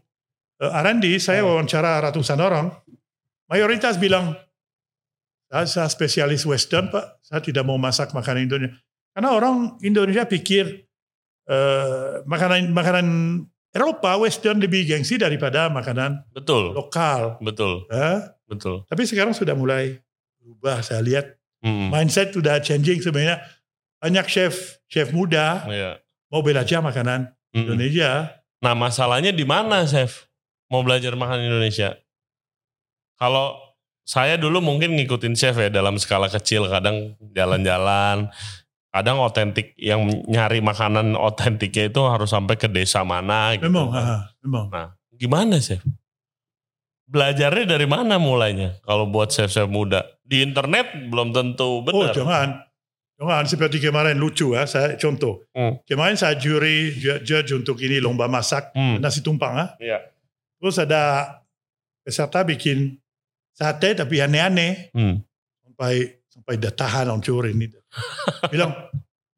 eh, R&D, saya
Ya.
wawancara ratusan orang. Mayoritas bilang, saya, saya spesialis Western, Pak. Saya tidak mau masak makanan Indonesia. Karena orang Indonesia pikir eh, makanan makanan Eropa Western lebih gengsi daripada makanan
Betul,
lokal.
betul,
Hah?
betul.
Tapi sekarang sudah mulai berubah. Saya lihat
Mm.
mindset sudah changing sebenarnya. Banyak chef chef muda
Iya.
mau belajar makanan
Mm.
Indonesia.
Nah masalahnya di mana chef? Mau belajar makan Indonesia? Kalau saya dulu mungkin ngikutin chef ya dalam skala kecil kadang jalan-jalan kadang otentik yang nyari makanan otentiknya itu harus sampai ke desa mana gitu.
Memang,
kan.
ah, memang.
Gimana chef? Belajarnya dari mana mulainya? Kalau buat chef-chef muda di internet belum
Oh
tentu benar.
jangan, jangan seperti kemarin lucu ya. Saya contoh.
Hmm.
Kemarin saya juri ju- judge untuk ini lomba masak
Hmm,
nasi tumpang ya.
Iya.
Terus ada peserta bikin sate tapi aneh-aneh
hmm,
sampai sampai datahan orang juri
[laughs]
ini. Bilang,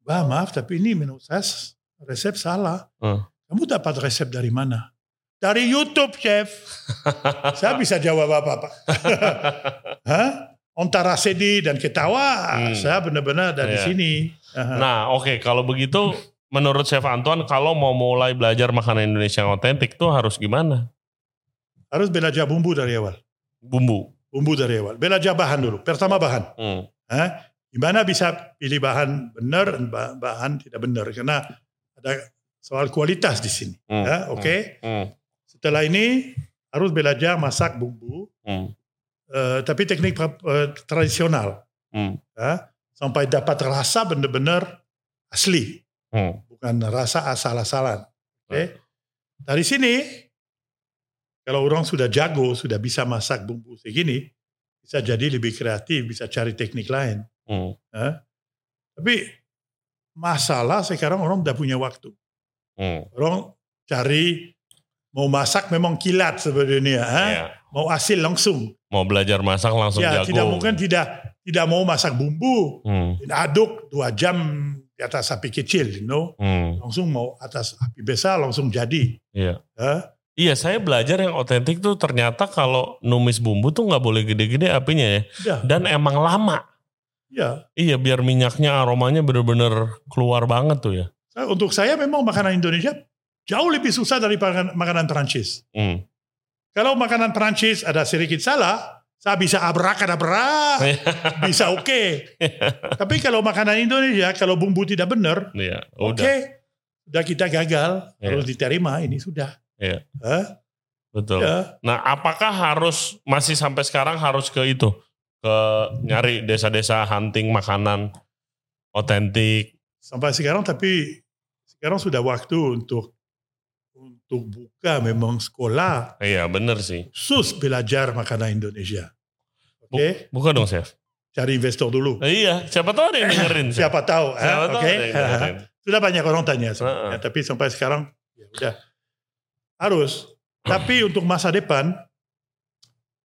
bah maaf tapi ini menurut saya resep salah.
hmm.
Kamu dapat resep dari mana? Dari YouTube, chef.
[laughs]
Saya bisa jawab apa-apa. Hah? Antara sedih dan ketawa,
Hmm.
saya benar-benar dari
Iya.
sini. Aha.
Nah, oke kalau begitu menurut Chef Antoine kalau mau mulai belajar makanan Indonesia yang otentik tuh harus gimana?
Harus belajar bumbu dari awal.
Bumbu.
Bumbu dari awal. Belajar bahan dulu. Pertama bahan.
Hmm.
Hah? Gimana bisa pilih bahan benar dan ba- bahan tidak benar? Karena ada soal kualitas di sini.
Hmm.
Ya, Oke.
Hmm.
Setelah ini harus belajar masak bumbu,
Hmm.
eh, tapi teknik pra- eh, tradisional.
Hmm.
Ya. sampai dapat rasa bener-bener asli,
Hmm.
bukan rasa asal-asalan. Oke. Dari sini kalau orang sudah jago, sudah bisa masak bumbu segini, bisa jadi lebih kreatif, bisa cari teknik lain.
Hmm.
Tapi masalah sekarang orang udah punya waktu.
Hmm.
Orang cari mau masak memang kilat sebenarnya, ha?
Iya.
mau hasil langsung.
Mau belajar masak langsung
Ah. ya
jago.
tidak mungkin tidak tidak mau masak bumbu,
Hmm.
aduk dua jam di atas api kecil, you know.
Hmm.
langsung mau atas api besar langsung jadi. Ya,
Iya.
Ha?
Iya, saya belajar yang otentik tuh ternyata kalau numis bumbu tuh nggak boleh gede-gede apinya ya.
Ya,
Dan emang lama.
ya.
Iya, biar minyaknya aromanya bener-bener keluar banget tuh ya.
Saya- Untuk saya memang makanan Indonesia jauh lebih susah daripada makanan Perancis.
Hmm.
Kalau makanan Perancis ada sedikit salah, saya bisa
[laughs]
abrak-abrak, bisa oke. Tapi kalau makanan Indonesia, kalau bumbu tidak benar,
[laughs] Iya,
oke,
udah.
udah kita gagal,
Iya.
harus diterima, ini sudah.
Iya.
Hah?
Betul.
Ya.
Nah, apakah harus masih sampai sekarang harus ke itu? Ke nyari desa-desa hunting makanan otentik.
Sampai sekarang, tapi sekarang sudah waktu untuk untuk buka memang sekolah
Iya, bener sih.
khusus belajar makanan Indonesia. Oke,
Buka dong, Chef.
cari investor dulu.
Eh, Iya, siapa tahu ada yang dengerin. Chef.
Siapa tahu, hah?
Iya. Siapa
oke?
tahu ada yang dengerin.
sudah banyak orang tanya sebenarnya,
Heeh.
tapi sampai sekarang ya udah harus tapi untuk masa depan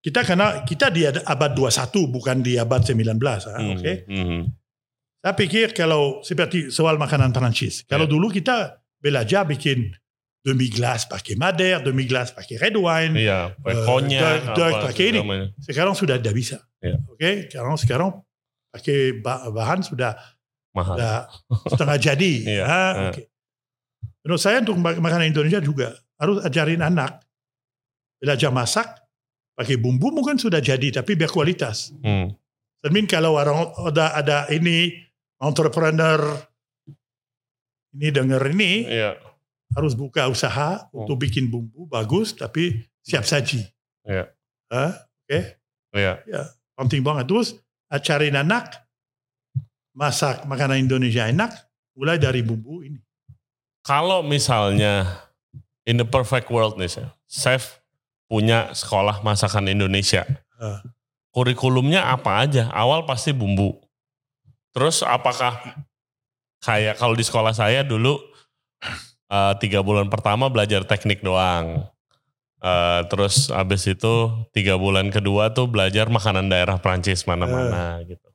kita karena kita di ad- abad 21 bukan di abad 19 ah,
Mhm,
[laughs] oke
mhm.
saya pikir kalau seperti soal makanan Perancis kalau
Ya.
dulu kita belajar bikin demi glace pakai Madère demi glace pakai red wine
Iya,
Eh,
pakai konyak,
dark- dark
apa
pakai ini.
namanya.
sekarang sudah tidak bisa
Ya.
oke sekarang sekarang pakai ba- bahan sudah
Mahal.
Udah
[laughs]
setengah jadi.
Iya.
Ah,
Iya.
oke. Menurut saya untuk mak- makanan Indonesia juga harus ajarin anak belajar masak pakai bumbu mungkin sudah jadi tapi berkualitas.
Hmm.
Termin kalau orang ada ada ini entrepreneur ini denger ini
Iya,
harus buka usaha
Oh.
untuk bikin bumbu bagus tapi siap saji.
Iya.
Ah,
iya.
penting banget terus ajarin anak masak makanan Indonesia enak mulai dari bumbu ini.
Kalau misalnya in the perfect world nih, Chef, Chef punya sekolah masakan Indonesia.
Ah.
Kurikulumnya apa aja? Awal pasti bumbu. Terus apakah kayak kalau di sekolah saya dulu eh, tiga bulan pertama belajar teknik doang. Eh, terus abis itu tiga bulan kedua tuh belajar makanan daerah Prancis mana-mana gitu.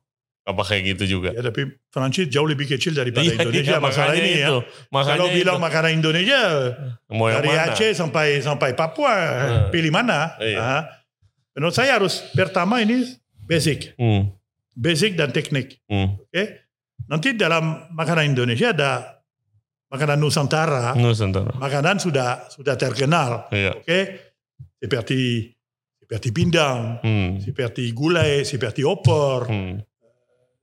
Apa kayak gitu juga?
Ya, tapi Perancis jauh lebih kecil daripada
Iya,
Indonesia
iya,
masalah
makanya
ini ya.
itu. Makanya
Kalau bilang
itu.
makanan Indonesia
mau yang
dari
mana?
Aceh sampai sampai Papua,
Eh.
pilih mana?
Iya.
Ah. menurut saya harus pertama ini basic,
Hmm,
basic dan teknik.
hmm.
Oke, nanti dalam makanan Indonesia ada makanan Nusantara,
Hmm. Nusantara.
makanan sudah sudah terkenal.
Iya.
Oke, seperti seperti pindang,
Hmm.
seperti gulai, seperti opor,
Hmm.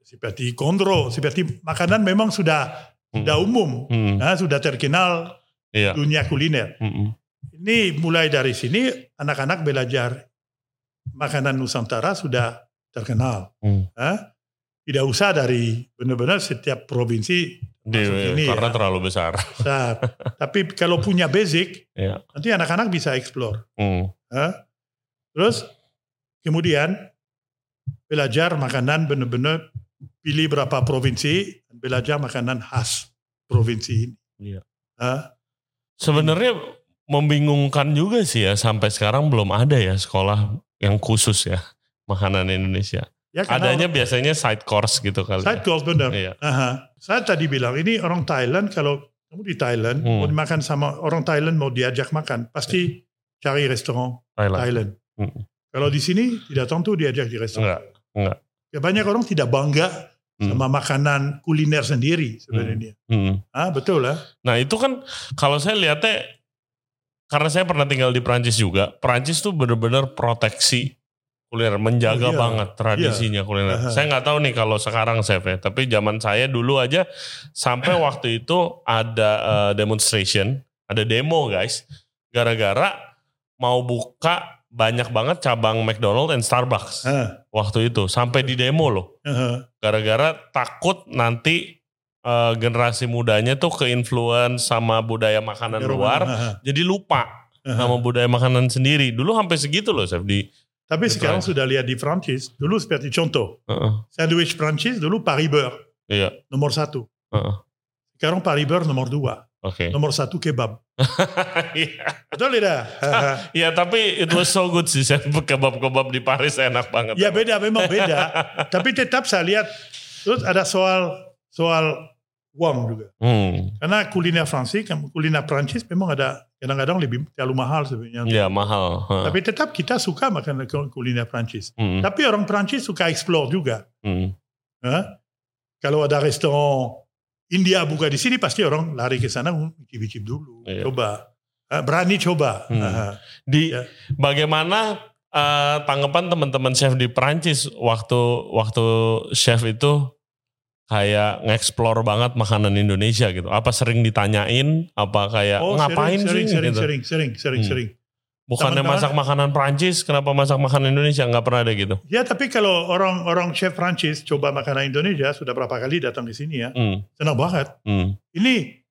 seperti kondro, seperti makanan memang sudah
Hmm.
sudah umum,
Hmm.
nah, sudah terkenal
Iya.
dunia kuliner.
Hmm.
Ini mulai dari sini anak-anak belajar makanan Nusantara sudah terkenal.
Hmm.
Hah? Tidak usah dari benar-benar setiap provinsi.
Di,
Maksud ini
karena
ya.
terlalu besar. [laughs]
besar. Tapi kalau punya basic,
Iya.
nanti anak-anak bisa explore.
Hmm.
Hah? Terus kemudian belajar makanan benar-benar pilih berapa provinsi, belajar makanan khas provinsi ini.
Iya.
Hah?
Sebenarnya membingungkan juga sih ya sampai sekarang belum ada ya sekolah yang khusus ya makanan Indonesia.
Ya, karena
Adanya biasanya side course gitu kali.
Side
ya.
course benar.
Iya.
Aha. Saya tadi bilang ini orang Thailand kalau kamu di Thailand mau
Hmm.
dimakan sama orang Thailand mau diajak makan pasti
Iya.
cari restoran
Thailand.
Thailand.
Hmm.
Kalau di sini tidak tentu diajak di restoran.
Enggak, enggak.
Ya, banyak orang tidak bangga
Hmm.
sama makanan kuliner sendiri sebenarnya.
Hmm.
Ah betul lah.
Nah itu kan kalau saya lihatnya karena saya pernah tinggal di Prancis juga. Prancis tuh bener-bener proteksi kuliner,
Oh,
menjaga
iya.
banget tradisinya kuliner.
Aha.
Saya nggak tahu nih kalau sekarang chef ya, tapi zaman saya dulu aja sampai
[clears throat]
waktu itu ada eh, demonstration, ada demo guys, gara-gara mau buka banyak banget cabang McDonald dan Starbucks
Ah,
waktu itu sampai di demo loh
aha.
gara-gara takut nanti eh, generasi mudanya tuh keinfluence sama budaya makanan luar
Aha,
jadi lupa
aha.
sama budaya makanan sendiri dulu sampai segitu loh Chef di
Tapi
Betul.
sekarang sudah lihat di Prancis. Dulu seperti contoh,
Heeh,
sandwich Prancis dulu Paris beurre
iya
nomor satu.
heeh,
Sekarang Paris beurre nomor dua.
oke
Nomor satu kebab.
[laughs] Iya.
Betul tidak? Haha.
[laughs] ya tapi it was so good sih Chef kebab-kebab di Paris enak banget
ya beda, memang
[laughs]
beda. Tapi tetap saya lihat. Terus ada soal soal uang juga.
hmm.
Karena kuliner Francis, kan, kuliner Prancis memang ada kadang-kadang lebih terlalu mahal sebenarnya.
ya mahal Heeh.
Tapi tetap kita suka makan kuliner Prancis.
Hmm,
Tapi orang Prancis suka explore juga.
hmm.
Hah? Kalau ada restoran India buka di sini pasti orang lari ke sana hmm, cicip-cicip dulu,
Iya.
coba. Hah, berani coba. Eh,
Hmm.
Hah.
di
Ya.
bagaimana eh, tanggapan teman-teman chef di Prancis waktu waktu chef itu kayak nge-explore banget makanan Indonesia gitu. Apa sering ditanyain? Apa kayak
Oh,
Ya, ngapain
sering,
sih?
sering,
gitu.
sering, sering, sering,
Hmm.
sering.
Bukannya
Teman-teman-
masak makanan Prancis, kenapa masak makanan Indonesia? Nggak pernah ada gitu.
Ya tapi kalau orang-orang chef Prancis coba makanan Indonesia sudah berapa kali datang ke sini ya,
Hmm,
senang banget.
hmm,
Ini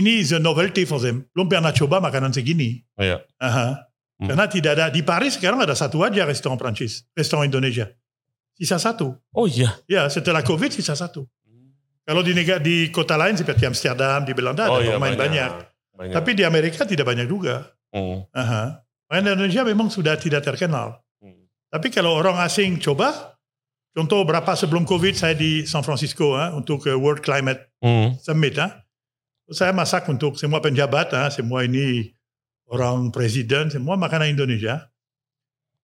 ini is a novelty for them. Belum pernah coba makanan segini.
iya.
Aha.
Hmm.
Karena tidak ada di Paris sekarang ada satu aja restoran Prancis, restoran Indonesia. Sisa satu.
Oh iya.
Ya, setelah COVID sisa satu. Kalau di negara di kota lain seperti Amsterdam, di Belanda
oh
ada
iya,
pemain banyak.
Banyak.
Tapi di Amerika tidak banyak juga.
Hmm,
Aha. Pemain Indonesia memang sudah tidak terkenal.
hmm.
Tapi kalau orang asing coba, contoh berapa sebelum COVID saya di San Francisco hein, untuk eh, World Climate
Hmm,
Summit. hein. Saya masak untuk semua penjabat, hein, semua ini orang presiden, semua makanan Indonesia.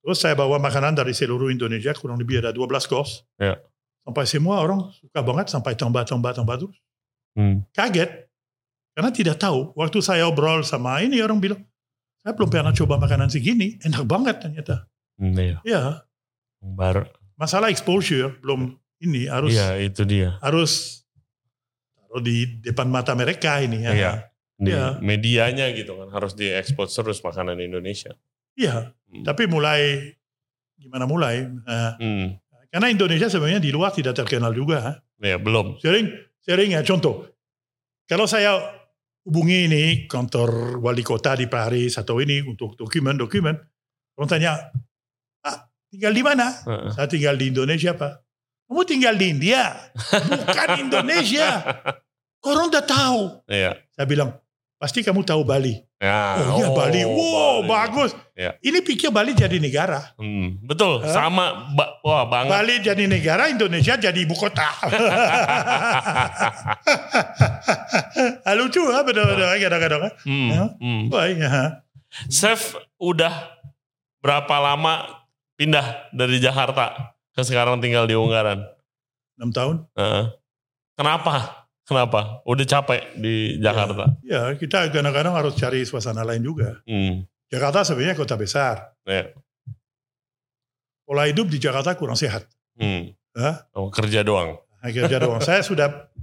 Terus saya bawa makanan dari seluruh Indonesia, kurang lebih ada 12 course.
Ya.
Sampai semua orang suka banget, sampai tambah, tambah, tambah terus.
hmm.
Kaget, karena tidak tahu. Waktu saya obrol sama ini, orang bilang, saya belum pernah coba makanan segini, enak banget ternyata.
Hmm, iya.
Ya,
Baru.
masalah exposure, belum ini, harus
Iya, itu dia.
harus taruh di depan mata mereka ini. Ya.
Iya. Di
Iya.
medianya gitu kan harus diekspor terus makanan Indonesia.
Iya,
Hmm.
tapi mulai gimana mulai? Eh,
Hmm.
karena Indonesia sebenarnya di luar tidak terkenal juga. eh.
Ya, belum.
Sering, sering ya contoh. Kalau saya hubungi ini kantor wali kota di Paris atau ini untuk dokumen-dokumen, orang tanya, ah, tinggal di mana?
Heeh.
Saya tinggal di Indonesia, Pak. Kamu tinggal di India, bukan Indonesia. Orang udah tahu.
Iya.
Saya bilang, pasti kamu tahu Bali.
Ya.
Oh, iya Bali, Iya. wow bagus.
Ya.
Ini pikir Bali jadi negara.
Hmm, betul,
Hah?
sama. Ba- wah, banget.
Bali jadi negara, Indonesia jadi ibu kota. Ah, Lucu ah benar-benar kadang-kadang. ah.
[laughs] Hmm,
Ya.
hmm.
Wah, iya.
Chef udah berapa lama pindah dari Jakarta ke sekarang tinggal di Ungaran?
Enam tahun.
Heeh. Kenapa? Kenapa? Udah capek di Jakarta.
Ya kita kadang-kadang harus cari suasana lain juga.
Hmm.
Jakarta sebenarnya kota besar.
Ya.
Pola hidup di Jakarta kurang sehat.
Hmm.
Hah?
Oh, kerja doang.
Kerja doang. Saya sudah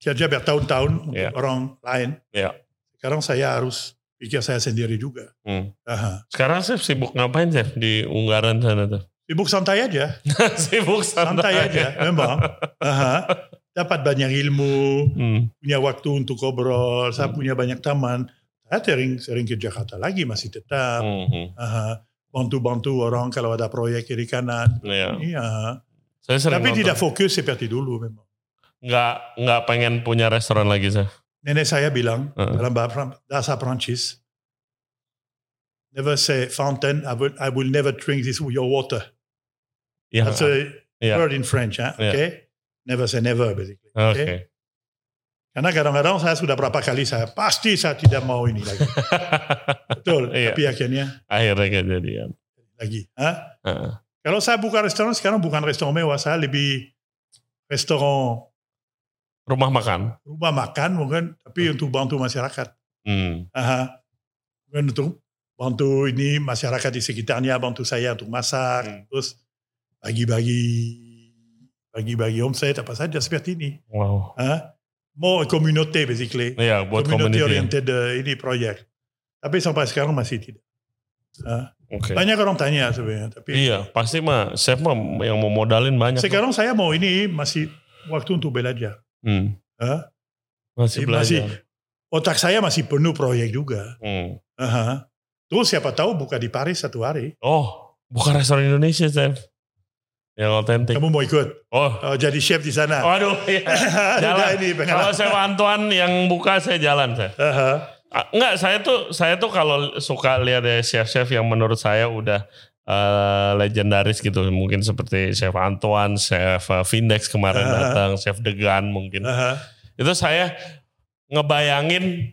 kerja bertahun-tahun untuk
Ya.
orang lain.
Ya.
Sekarang saya harus pikir saya sendiri juga.
Hmm.
Aha.
Sekarang Chef sibuk ngapain Chef di Ungaran sana tuh? [laughs]
Sibuk santai aja.
sibuk
santai
santai,
aja memang Aha. dapat banyak ilmu
Hmm.
punya waktu untuk obrol saya punya banyak taman saya sering sering ke Jakarta lagi masih tetap
Hmm, hmm.
Aha. bantu-bantu orang kalau ada proyek kiri kanan
Iya.
Iya.
Saya sering
tapi
nonton.
tidak fokus seperti dulu memang
nggak nggak pengen punya restoran lagi Chef.
nenek saya bilang
Heeh.
dalam bahasa bahasa Prancis never say fountain I will, I will never drink this your water
Iya.
that's a
Iya.
word in French huh?
Yeah.
okay never say never basically
Ah, Oke.
okay? Karena kadang-kadang saya sudah berapa kali saya pasti saya tidak mau ini
[laughs]
lagi. Betul.
Iya.
Tapi akhirnya
[laughs] Akhirnya kejadian.
lagi. Hah?
Heeh.
Kalau saya buka restoran sekarang bukan restoran mewah, saya lebih restoran
Rumah makan.
rumah makan mungkin, tapi untuk bantu masyarakat.
Hmm.
Aha. Mungkin untuk bantu ini masyarakat di sekitarnya, bantu saya untuk masak,
Hmm.
terus bagi-bagi bagi-bagi omset apa saja seperti ini.
Wow.
Hah? Mau communauté basically.
Iya buat
community
community.
oriented eh, ini proyek. Tapi sampai sekarang masih tidak. Hah?
Oke.
Banyak orang tanya sebenarnya. Tapi
Iya, pasti mah chef mah yang mau modalin banyak.
sekarang saya mau ini masih waktu untuk belajar.
Hmm.
Hah?
Masih
Jadi
belajar.
masih- Otak saya masih penuh proyek juga.
Hmm.
Aha. Terus siapa tahu buka di Paris satu hari.
Oh, bukan restoran Indonesia, Chef. Yang otentik.
Kamu mau ikut
Oh.
eh, jadi chef di sana. [laughs]
Waduh, iya.
Sudah
jalan.
ini pengalaman.
Kalau Chef Antoine yang buka saya jalan, Chef.
Aha.
Ah, Enggak, saya tuh saya tuh kalau suka lihat ya chef-chef yang menurut saya udah eh, legendaris gitu, mungkin seperti Chef Antoine, Chef eh, Vindex kemarin
Ah.
datang, Chef Degan mungkin.
Aha.
Itu saya ngebayangin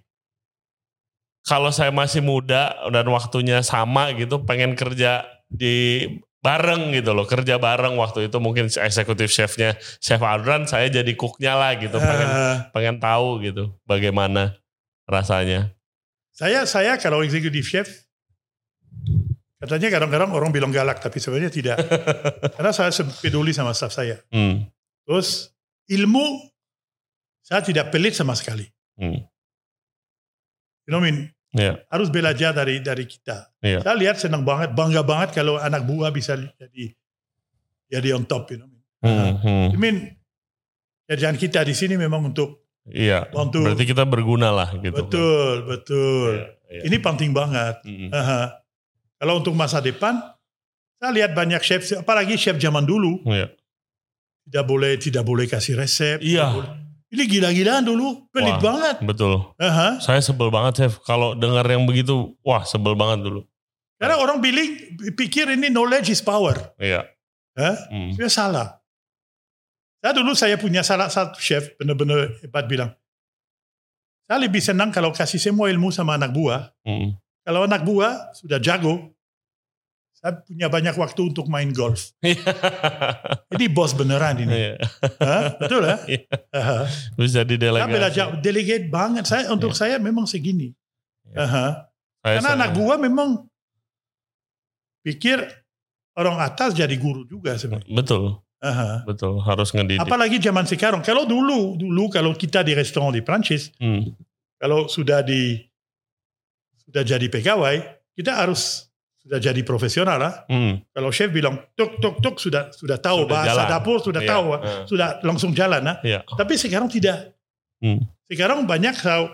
kalau saya masih muda dan waktunya sama gitu, pengen kerja di bareng gitu loh, kerja bareng waktu itu mungkin eksekutif chefnya Chef Adran, saya jadi cooknya lah gitu, pengen
Aha.
pengen tahu gitu bagaimana rasanya.
Saya saya kalau eksekutif chef katanya kadang-kadang orang bilang galak tapi sebenarnya
[laughs]
tidak. Karena saya sem- peduli sama staff saya.
Hmm.
Terus ilmu saya tidak pelit sama sekali.
Hmm.
You know what I mean?
Ya.
Harus belajar dari dari kita.
Iya.
Saya lihat senang banget, bangga banget kalau anak buah bisa li- jadi jadi on top. You know what I mean?
Hmm, hmm.
I mean, kerjaan kita di sini memang untuk
Iya.
Untuk-
Berarti kita berguna lah gitu.
betul betul.
Iya, iya.
Ini penting banget.
Hmm.
Aha. Kalau untuk masa depan, saya lihat banyak chef, apalagi chef zaman dulu
Iya.
tidak boleh tidak boleh kasih resep. tidak
Iya.
boleh. Ini gila-gilaan dulu, pelit
Wah.
banget.
Betul.
Aha.
Saya sebel banget Chef kalau dengar yang begitu. Wah, sebel banget dulu.
Karena orang biling pikir ini knowledge is power.
Iya.
Hah?
Hmm.
Dia salah. Saya dulu saya punya salah satu chef benar-benar hebat bilang, saya lebih senang kalau kasih semua ilmu sama anak buah.
Hmm. [laughs]
Kalau anak buah sudah jago, saya punya banyak waktu untuk main golf. Jadi bos beneran ini.
Iya.
Hah? Betul ya?
[laughs] Iya.
Aha.
Terus jadi
Saya
delegasi.
belajar delegate banget. Saya untuk saya memang segini.
Iya.
Aha.
Saya
Karena
senang.
anak gua memang pikir orang atas jadi guru juga sebenarnya.
Betul.
Aha.
Betul. Harus ngedidik.
Apalagi zaman sekarang. Kalau dulu, dulu kalau kita di restoran di Prancis,
Hmm.
kalau sudah di sudah jadi pegawai, kita harus sudah jadi profesional lah.
Hmm.
Kalau chef bilang tok tok tok sudah sudah tahu
Sudah
Oh, bahasa
jalan.
dapur sudah
Iya.
tahu ah.
Heeh.
sudah langsung jalan ah.
Iya.
Tapi sekarang tidak.
Hmm.
Sekarang banyak kalau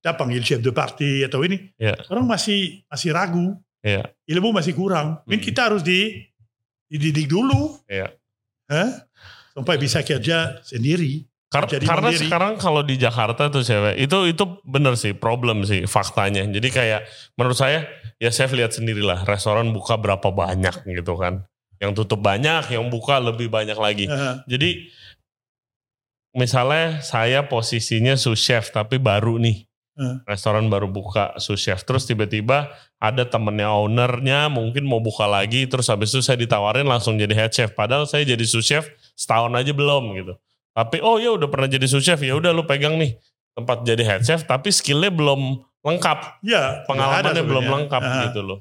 kita panggil chef de parti atau ini,
Iya.
orang masih masih ragu,
Iya.
ilmu masih kurang. Mungkin
Hmm.
kita harus di dididik dulu,
Iya.
Hah? sampai bisa kerja sendiri.
Kar-
Jadi
karena
mandiri.
sekarang kalau di Jakarta tuh cewek itu itu bener sih problem sih faktanya. Jadi kayak menurut saya ya chef lihat sendirilah restoran buka berapa banyak gitu kan. Yang tutup banyak, yang buka lebih banyak lagi.
Hah?
Jadi misalnya saya posisinya sous chef tapi baru nih.
Hmm.
Restoran baru buka sous chef terus tiba-tiba ada temennya ownernya mungkin mau buka lagi terus habis itu saya ditawarin langsung jadi head chef padahal saya jadi sous chef setahun aja belum gitu. Tapi oh ya udah pernah jadi sous chef ya udah lu pegang nih tempat jadi head chef tapi skillnya belum lengkap
ya,
pengalamannya
ada
belum
sebenarnya.
lengkap
Hah.
gitu loh.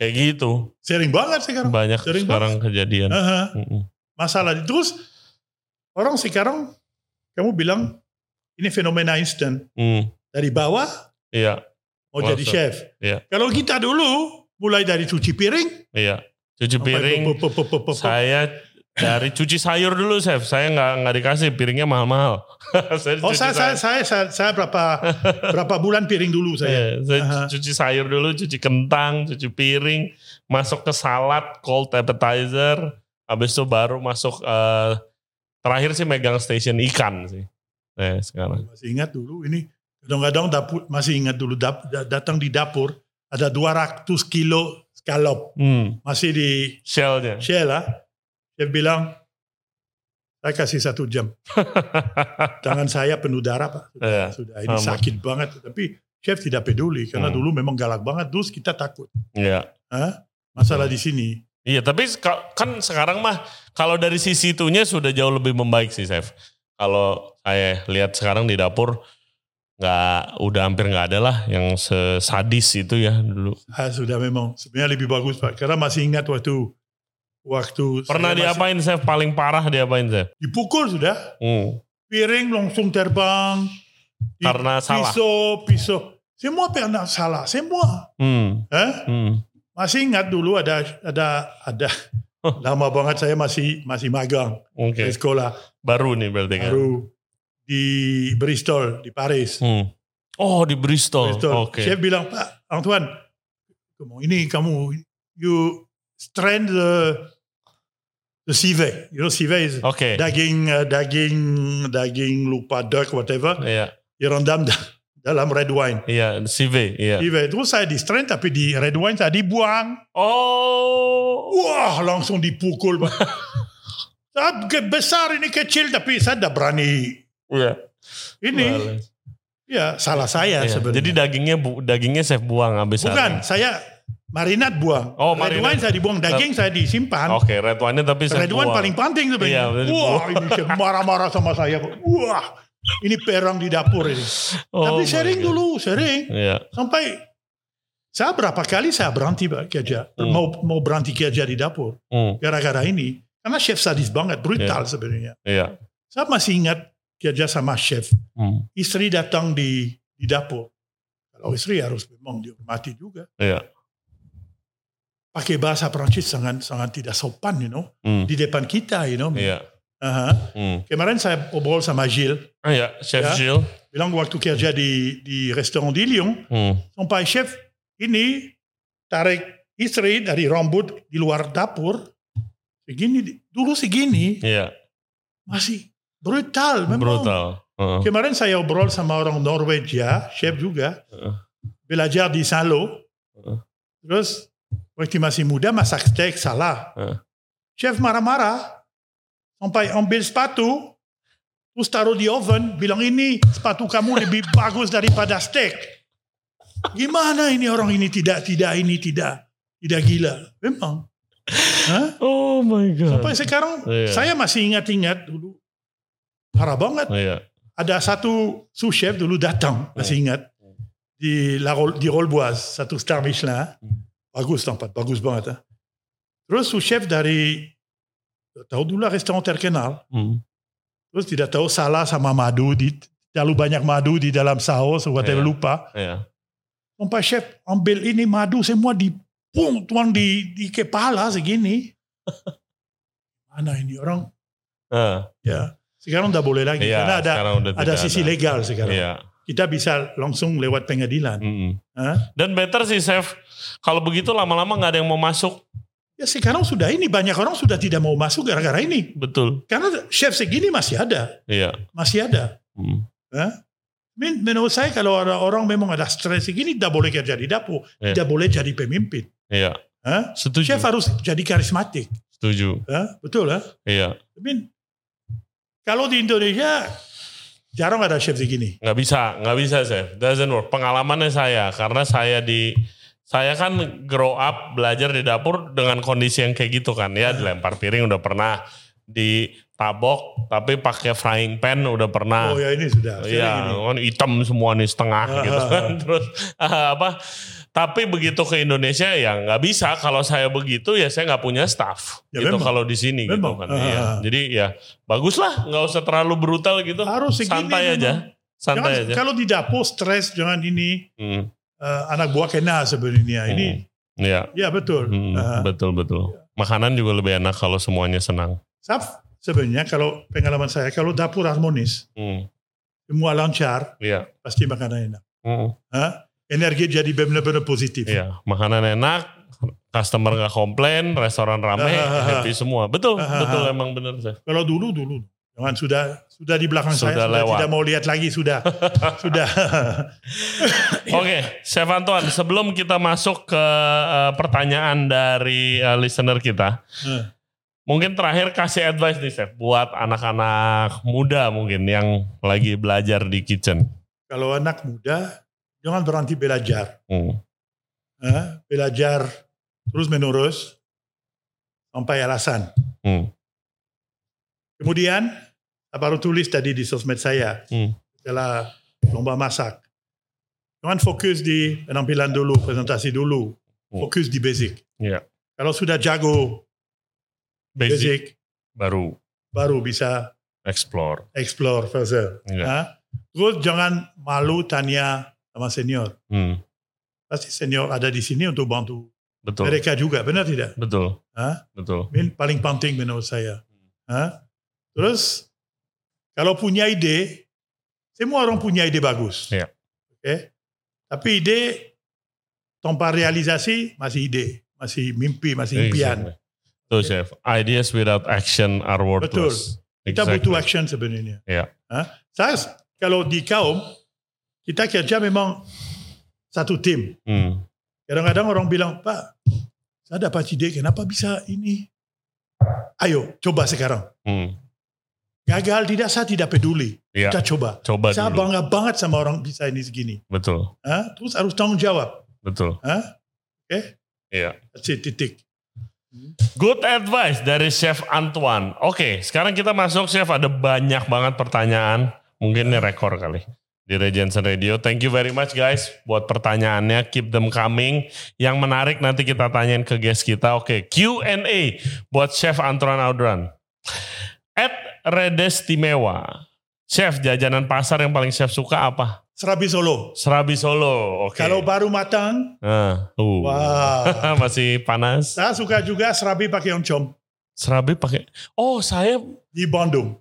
Kayak gitu
Sering banget sekarang.
banyak
Sering
sekarang kejadian.
Aha.
Mm-mm.
Masalah terus orang sekarang kamu bilang ini fenomena instan
Mm.
dari bawah
Iya
mau
Langsung.
jadi chef.
Iya.
Kalau kita dulu mulai dari cuci piring,
iya cuci
sampai
piring.
pe- pe- pe- pe- pe-
Saya dari cuci sayur dulu, Chef. Saya nggak nggak dikasih piringnya mahal-mahal. [laughs] saya
Oh
cuci
saya saya,
sayur.
saya saya saya
[laughs]
berapa berapa bulan piring dulu saya.
Iya, saya
Aha.
cuci sayur dulu, cuci kentang, cuci piring, masuk ke salad, cold appetizer, habis itu baru masuk eh, terakhir sih megang station ikan sih. Eh, sekarang.
Masih ingat dulu ini kadang-kadang dapur masih ingat dulu dap- da- datang di dapur ada 200 kilo scallop
Hmm,
masih di
shellnya. [laughs]
Shell ah. Dia bilang saya kasih satu jam. Tangan
[laughs]
saya penuh darah pak. Sudah,
Iya,
sudah. ini
sama.
sakit banget. Tapi chef tidak peduli karena
Hmm.
dulu memang galak banget. Terus kita takut.
Iya.
Hah? Masalah di sini.
Iya, tapi seka- kan sekarang mah kalau dari sisi itunya sudah jauh lebih membaik sih, Chef. Kalau saya lihat sekarang di dapur nggak udah hampir nggak ada lah yang sesadis itu ya dulu.
Ah, sudah memang sebenarnya lebih bagus pak. Karena masih ingat waktu waktu
Pernah
saya masih-
diapain, Chef? Paling parah diapain, Chef?
Dipukul sudah.
Hmm.
Piring langsung terbang. Di-
Karena salah.
Pisau, pisau. Semua pernah salah. Semua.
Hmm.
Hah?
Hmm.
Masih ingat dulu ada ada
[laughs]
ada lama banget saya masih masih magang
Oke.
di sekolah
Baru nih berarti kan.
baru di Bristol di Paris.
Hmm. Oh di Bristol.
Bristol.
Oke.
Chef bilang Pak Antoine, kamu ini kamu you strain the the civet. You know civet is
Oke.
daging eh, daging daging lupa duck whatever
Iya.
direndam da- dalam red wine.
Iya. CV. Iya.
Civet. Terus saya di strain tapi di red wine saya dibuang.
Oh.
Wah langsung dipukul.
[laughs]
Pak. Saya ke- besar ini kecil tapi saya tidak berani
Iya.
ini.
Males.
Ya salah saya
Iya.
sebenarnya.
Jadi dagingnya bu, dagingnya chef buang habis
Bukan,
hari.
saya marinat buang.
Oh,
red
marinade.
wine saya dibuang, daging saya disimpan.
Oke, red wine-nya tapi chef
red wine
buang.
paling penting
Iya,
sebenarnya.
benar,
Wah,
dibuang.
ini chef marah-marah sama saya. Wah, ini perang di dapur ini.
Oh
Tapi
my
sering
God.
dulu, sering.
Iya.
Sampai saya berapa kali saya berhenti Pak, kerja.
Hmm.
Mau, mau berhenti kerja di dapur.
Hmm.
Gara-gara ini. Karena chef sadis banget, brutal sebenarnya.
Iya.
Saya masih ingat kerja sama chef.
Hmm.
Istri datang di, di dapur. Kalau istri harus memang dihormati juga.
Iya.
pakai bahasa Perancis sangat sangat tidak sopan, you know,
Hmm.
di depan kita, you know.
Iya.
Aha.
Hmm.
Kemarin saya obrol sama Gilles,
Iya,
Ya.
chef Jill.
bilang waktu kerja di di restoran di Lyon,
Hmm.
sampai chef ini tarik istri dari rambut di luar dapur, segini dulu segini
Iya.
masih brutal, memang. Ya.
Brutal. Heeh.
Kemarin saya obrol sama orang Norwegia, chef juga,
Heeh.
belajar di Salo.
Heeh.
Terus waktu masih muda masak steak salah.
Heeh.
Chef marah-marah, sampai ambil sepatu, terus taruh di oven, bilang ini sepatu kamu lebih [laughs] bagus daripada steak. Gimana ini orang ini tidak, tidak, ini tidak, tidak gila. Memang. Hah?
Oh my god.
Sampai sekarang
Iya.
saya masih ingat-ingat dulu. Parah banget
Iya.
ada satu sous chef dulu
Hmm.
datang masih ingat di La Rol- di Rolboise satu star Michelin
Hmm.
bagus tempat bagus banget ha. terus sous chef dari tahu dulu lah restoran terkenal
Hmm.
terus tidak tahu salah sama madu di terlalu banyak madu di dalam saus whatever
Iya.
lupa
Iya.
sampai chef ambil ini madu semua di pung tuang di di kepala
[laughs]
segini mana ini orang
Ah,
ya sekarang udah boleh lagi
Iya.
karena ada
sekarang udah
ada
tidak
sisi legal sekarang
Iya.
kita bisa langsung lewat pengadilan.
Mm-mm.
Hah?
Dan better sih chef. Kalau begitu lama-lama nggak ada yang mau masuk.
Ya sekarang sudah ini banyak orang sudah tidak mau masuk gara-gara ini.
Betul.
Karena chef segini masih ada,
Iya.
masih ada.
Hmm.
Hah? Men- Menurut saya kalau ada orang memang ada stres segini tidak boleh kerja di dapur,
Iya.
tidak boleh jadi pemimpin.
Iya.
Hah?
Setuju.
Chef harus jadi karismatik,
Setuju.
Hah? betul ya?
Iya.
Tapi kalau di Indonesia jarang ada chef segini.
Nggak bisa. Nggak bisa chef. Doesn't work. Pengalamannya saya karena saya di saya kan grow up belajar di dapur dengan kondisi yang kayak gitu kan ya dilempar piring udah pernah ditabok tapi pakai frying pan udah pernah
Oh ya ini sudah. sering
Ah. Iya,
ini.
kan hitam semua nih
[laughs]
setengah
Ah,
gitu
ah,
kan.
ah.
Terus [laughs] ah, apa? Tapi begitu ke Indonesia ya nggak bisa. Kalau saya begitu ya saya nggak punya staff.
Ya,
gitu
memang.
kalau di sini gitu
Memang.
kan.
Ah,
Iya.
ah, ah.
Jadi ya baguslah, nggak usah terlalu brutal gitu.
Harus segini.
Santai
memang.
aja, santai
Jangan- kan-
aja.
Kalau di dapur stres jangan ini
Hmm,
eh, anak buah kena sebenarnya. Ini
hmm. Iya,
Ya betul.
hmm,
Nah,
betul betul. Makanan juga lebih enak kalau semuanya senang.
saf- sebenarnya kalau pengalaman saya kalau dapur harmonis
Hmm,
semua lancar
Iya,
pasti makanan enak.
Hmm,
Hah? Energi jadi benar-benar positif.
iya. Makanan enak, customer nggak komplain, restoran ramai,
Ah, ah, ah.
happy semua. Betul,
Ah, ah,
betul
ah.
emang bener saya.
Kalau dulu dulu jangan sudah sudah di belakang
Sudah
saya sudah
lewat.
tidak mau lihat lagi
[laughs]
sudah sudah.
Oke, Chef Antoine, sebelum kita masuk ke eh, pertanyaan dari eh, listener kita,
Eh,
mungkin terakhir kasih advice nih Chef buat anak-anak muda mungkin yang lagi belajar di kitchen.
kalau anak muda jangan berhenti belajar.
Hmm,
Hah? Belajar terus menerus sampai alasan.
hmm,
Kemudian saya baru tulis tadi di sosmed saya
Hmm.
setelah lomba masak. Jangan fokus di penampilan dulu, presentasi dulu.
Hmm.
Fokus di basic.
Iya.
Kalau sudah jago basic,
Basic, baru
baru bisa
explore.
explore further.
Iya.
Hah? Terus jangan malu tanya sama senior.
Hmm,
Pasti senior ada di sini untuk bantu
Betul.
mereka juga benar tidak
Betul.
Hah?
Betul.
Min- paling penting menurut saya Hah? terus kalau punya ide semua orang punya ide bagus
Iya.
oke tapi ide tanpa realisasi masih ide masih mimpi
Iya,
masih impian
Exactly. Tuh chef, ideas without action are worthless.
kita
Exactly.
butuh action sebenarnya
Iya.
Hah? saya s- kalau di kaum kita kerja memang satu tim
Hmm.
Kadang-kadang orang bilang, Pak, saya dapat ide, kenapa bisa ini? Ayo, coba sekarang.
Hmm.
Gagal tidak, saya tidak peduli.
Iya.
Kita coba.
Coba
Saya
dulu.
bangga banget sama orang bisa ini segini.
Betul.
Hah? Terus harus tanggung jawab.
Betul.
Hah?
Iya.
That's it, titik.
Good advice dari Chef Antoine. Oke, sekarang kita masuk Chef. Ada banyak banget pertanyaan. Mungkin ini rekor kali di Regensen Radio. Thank you very much guys buat pertanyaannya. Keep them coming. Yang menarik nanti kita tanyain ke guest kita. Oke, Q&A buat Chef Antoine Audran. At Redestimewa. Chef, jajanan pasar yang paling chef suka apa?
Serabi Solo.
Serabi Solo. Oke.
Kalau baru matang,
Nah, tuh.
wah.
[laughs] Masih panas.
saya suka juga serabi pakai oncom
Serabi pakai. Oh, saya
di Bandung.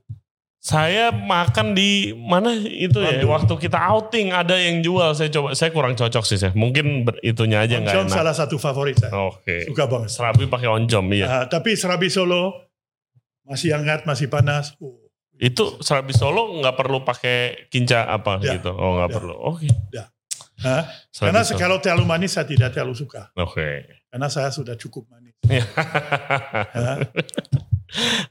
Saya makan di mana itu ya?
Bandung.
Waktu kita outing ada yang jual. Saya coba, saya kurang cocok sih. Saya mungkin ber- itunya aja nggak
Oncom
enak.
salah satu favorit saya.
Oke.
Suka banget.
Serabi pakai oncom, iya.
Ah, tapi serabi Solo, masih hangat, masih panas. Oh,
Itu serabi Solo nggak perlu pakai kinca apa
Ya.
gitu? Oh nggak
Ya.
perlu. Oke.
Hah?
Serabi
Karena
Solo.
kalau terlalu manis saya tidak terlalu suka.
Oke.
Karena saya sudah cukup
[laughs]
manis.
Ya. [laughs]
Hah?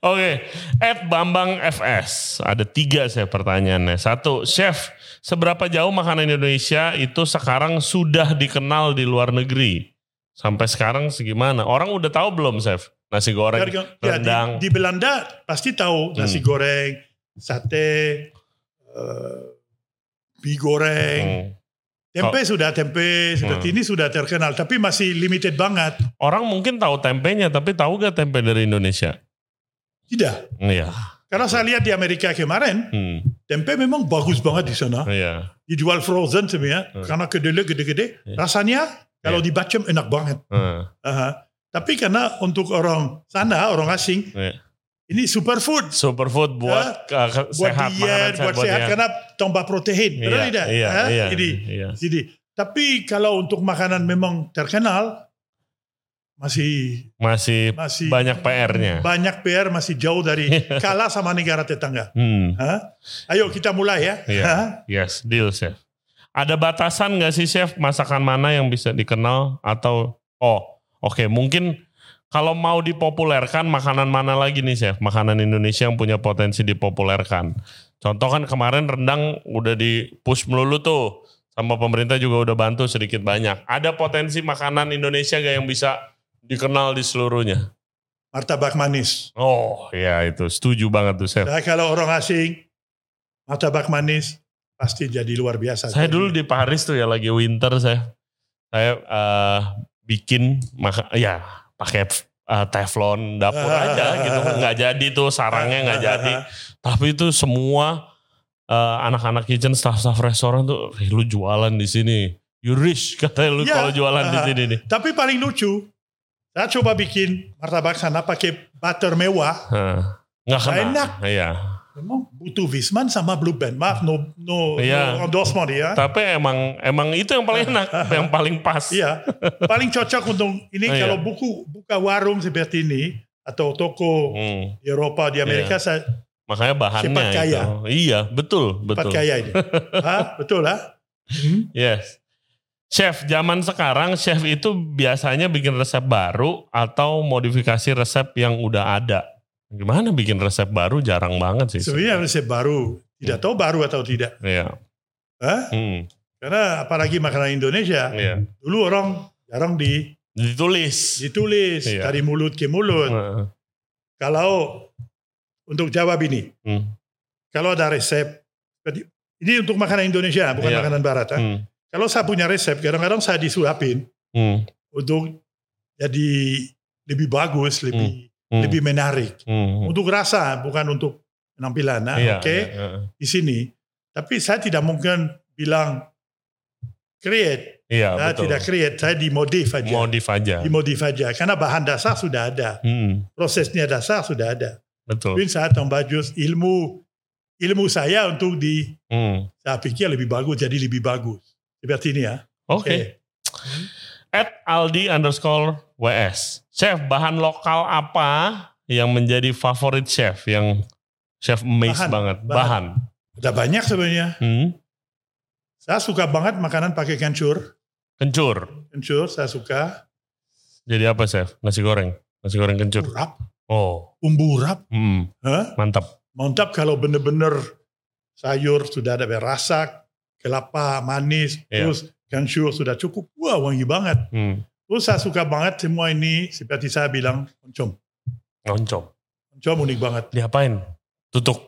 Oke. At Bambang FS ada tiga saya pertanyaannya. Satu, chef seberapa jauh makanan Indonesia itu sekarang sudah dikenal di luar negeri? Sampai sekarang segimana? Orang udah tahu belum, chef? Nasi goreng,
Harga- ya, di,
rendang. Hmm.
di Belanda pasti tahu nasi goreng, sate, eh, mie goreng,
Hmm.
tempe sudah tempe, sudah
Hmm.
ini sudah terkenal, tapi masih limited banget.
Orang mungkin tahu tempenya, tapi tahu gak tempe dari Indonesia?
Tidak,
Iya.
karena saya lihat di Amerika kemarin
Hmm.
tempe memang bagus banget di sana,
Iya.
dijual frozen sebenarnya,
Hmm.
karena kedele gede-gede,
Iya.
rasanya kalau dibacem enak banget.
Hmm.
Aha. Tapi karena untuk orang sana, orang asing,
Iya.
ini superfood.
Superfood buat, uh,
buat
ke- sehat, makanan
diet, buat sehat, karena tambah protein,
Iya,
benar tidak?
Iya,
Hah?
iya,
Jadi,
iya.
jadi, tapi kalau untuk makanan memang terkenal masih
Masih
masih
banyak PR-nya.
banyak PR masih jauh
[laughs]
dari kalah sama negara tetangga.
Hmm.
Hah? Ayo kita mulai ya.
Iya.
Hah?
Yes, deal chef. Ada batasan nggak sih chef masakan mana yang bisa dikenal atau oh oke mungkin kalau mau dipopulerkan makanan mana lagi nih chef makanan Indonesia yang punya potensi dipopulerkan. Contoh kan kemarin rendang udah di push melulu tuh sama pemerintah juga udah bantu sedikit banyak. Ada potensi makanan Indonesia gak yang bisa dikenal di seluruhnya?
Martabak manis.
Oh ya itu setuju banget tuh chef.
Nah, kalau orang asing martabak manis pasti jadi luar biasa.
Saya
Jadi,
dulu di Paris tuh ya lagi winter saya. Saya eh, bikin maka ya pakai eh, teflon dapur
[laughs]
aja gitu kan nggak jadi tuh sarangnya nggak jadi. Tapi itu semua eh, anak-anak kitchen staff-staff restoran tuh "Eh, lu jualan di sini. You rich [laughs] katanya lu
Ya.
kalau jualan di sini
[laughs]
nih.
Tapi paling lucu, saya coba bikin martabak sana pakai butter mewah.
Hah. Nggak kena.
Enak.
Iya.
Memang butuh Wisman sama Blue Band. Maaf, no, no,
Iya.
no endorsement ya.
Tapi emang emang itu yang paling
[laughs]
enak, yang paling pas.
Iya, paling cocok untuk ini
Iya.
kalau buku buka warung seperti ini atau toko
Hmm.
di Eropa di Amerika
Iya.
saya
Makanya bahannya
Cepat kaya.
itu. Iya, betul,
dapat
betul.
kaya ini. Hah? Betul lah. Hmm?
Yes. Chef, zaman sekarang chef itu biasanya bikin resep baru atau modifikasi resep yang udah ada. Gimana bikin resep baru jarang banget sih.
Sebenarnya resep baru, tidak tahu baru atau tidak.
Iya.
Hah?
Hmm,
Karena apalagi makanan Indonesia
iya.
dulu orang jarang di
Ditulis. Nah.
ditulis
Iya.
dari mulut ke mulut.
Heeh.
Kalau untuk jawab ini,
Hmm,
kalau ada resep, jadi- ini untuk makanan Indonesia, bukan
Iya.
makanan Barat. ah.
hmm,
Kalau saya punya resep, kadang-kadang saya disuapin
hmm,
untuk jadi lebih bagus, lebih
hmm,
lebih menarik.
hmm, hmm.
Untuk rasa, bukan untuk penampilan. ah.
Iya,
Oke,
iya, iya.
di sini. Tapi saya tidak mungkin bilang create. Saya
Iya betul.
Nah, tidak Iya. create, saya dimodif aja.
Modif aja.
Dimodif aja, karena bahan dasar sudah ada.
Hmm,
Prosesnya dasar sudah ada.
betul.
Mungkin saya tambah just ilmu ilmu saya untuk di
Hmm.
saya pikir lebih bagus jadi lebih bagus seperti ini ya
Oke. At Aldi underscore WS. Chef, bahan lokal apa yang menjadi favorit chef? Yang chef amazed
Bahan,
banget.
bahan.
Bahan.
ada banyak sebenarnya
Hmm.
saya suka banget makanan pakai kencur
Kencur.
kencur saya suka
Jadi apa chef? Nasi goreng. Nasi goreng kencur.
urap
Oh.
umbu urap
Hmm.
Hah?
Mantap.
mantap kalau bener-bener sayur sudah ada berasa kelapa manis
Iya.
terus kencur sudah cukup wah wangi banget
Hmm.
terus saya suka banget semua ini seperti saya bilang oncom
Oncom.
oncom unik banget
Diapain? Tutuk.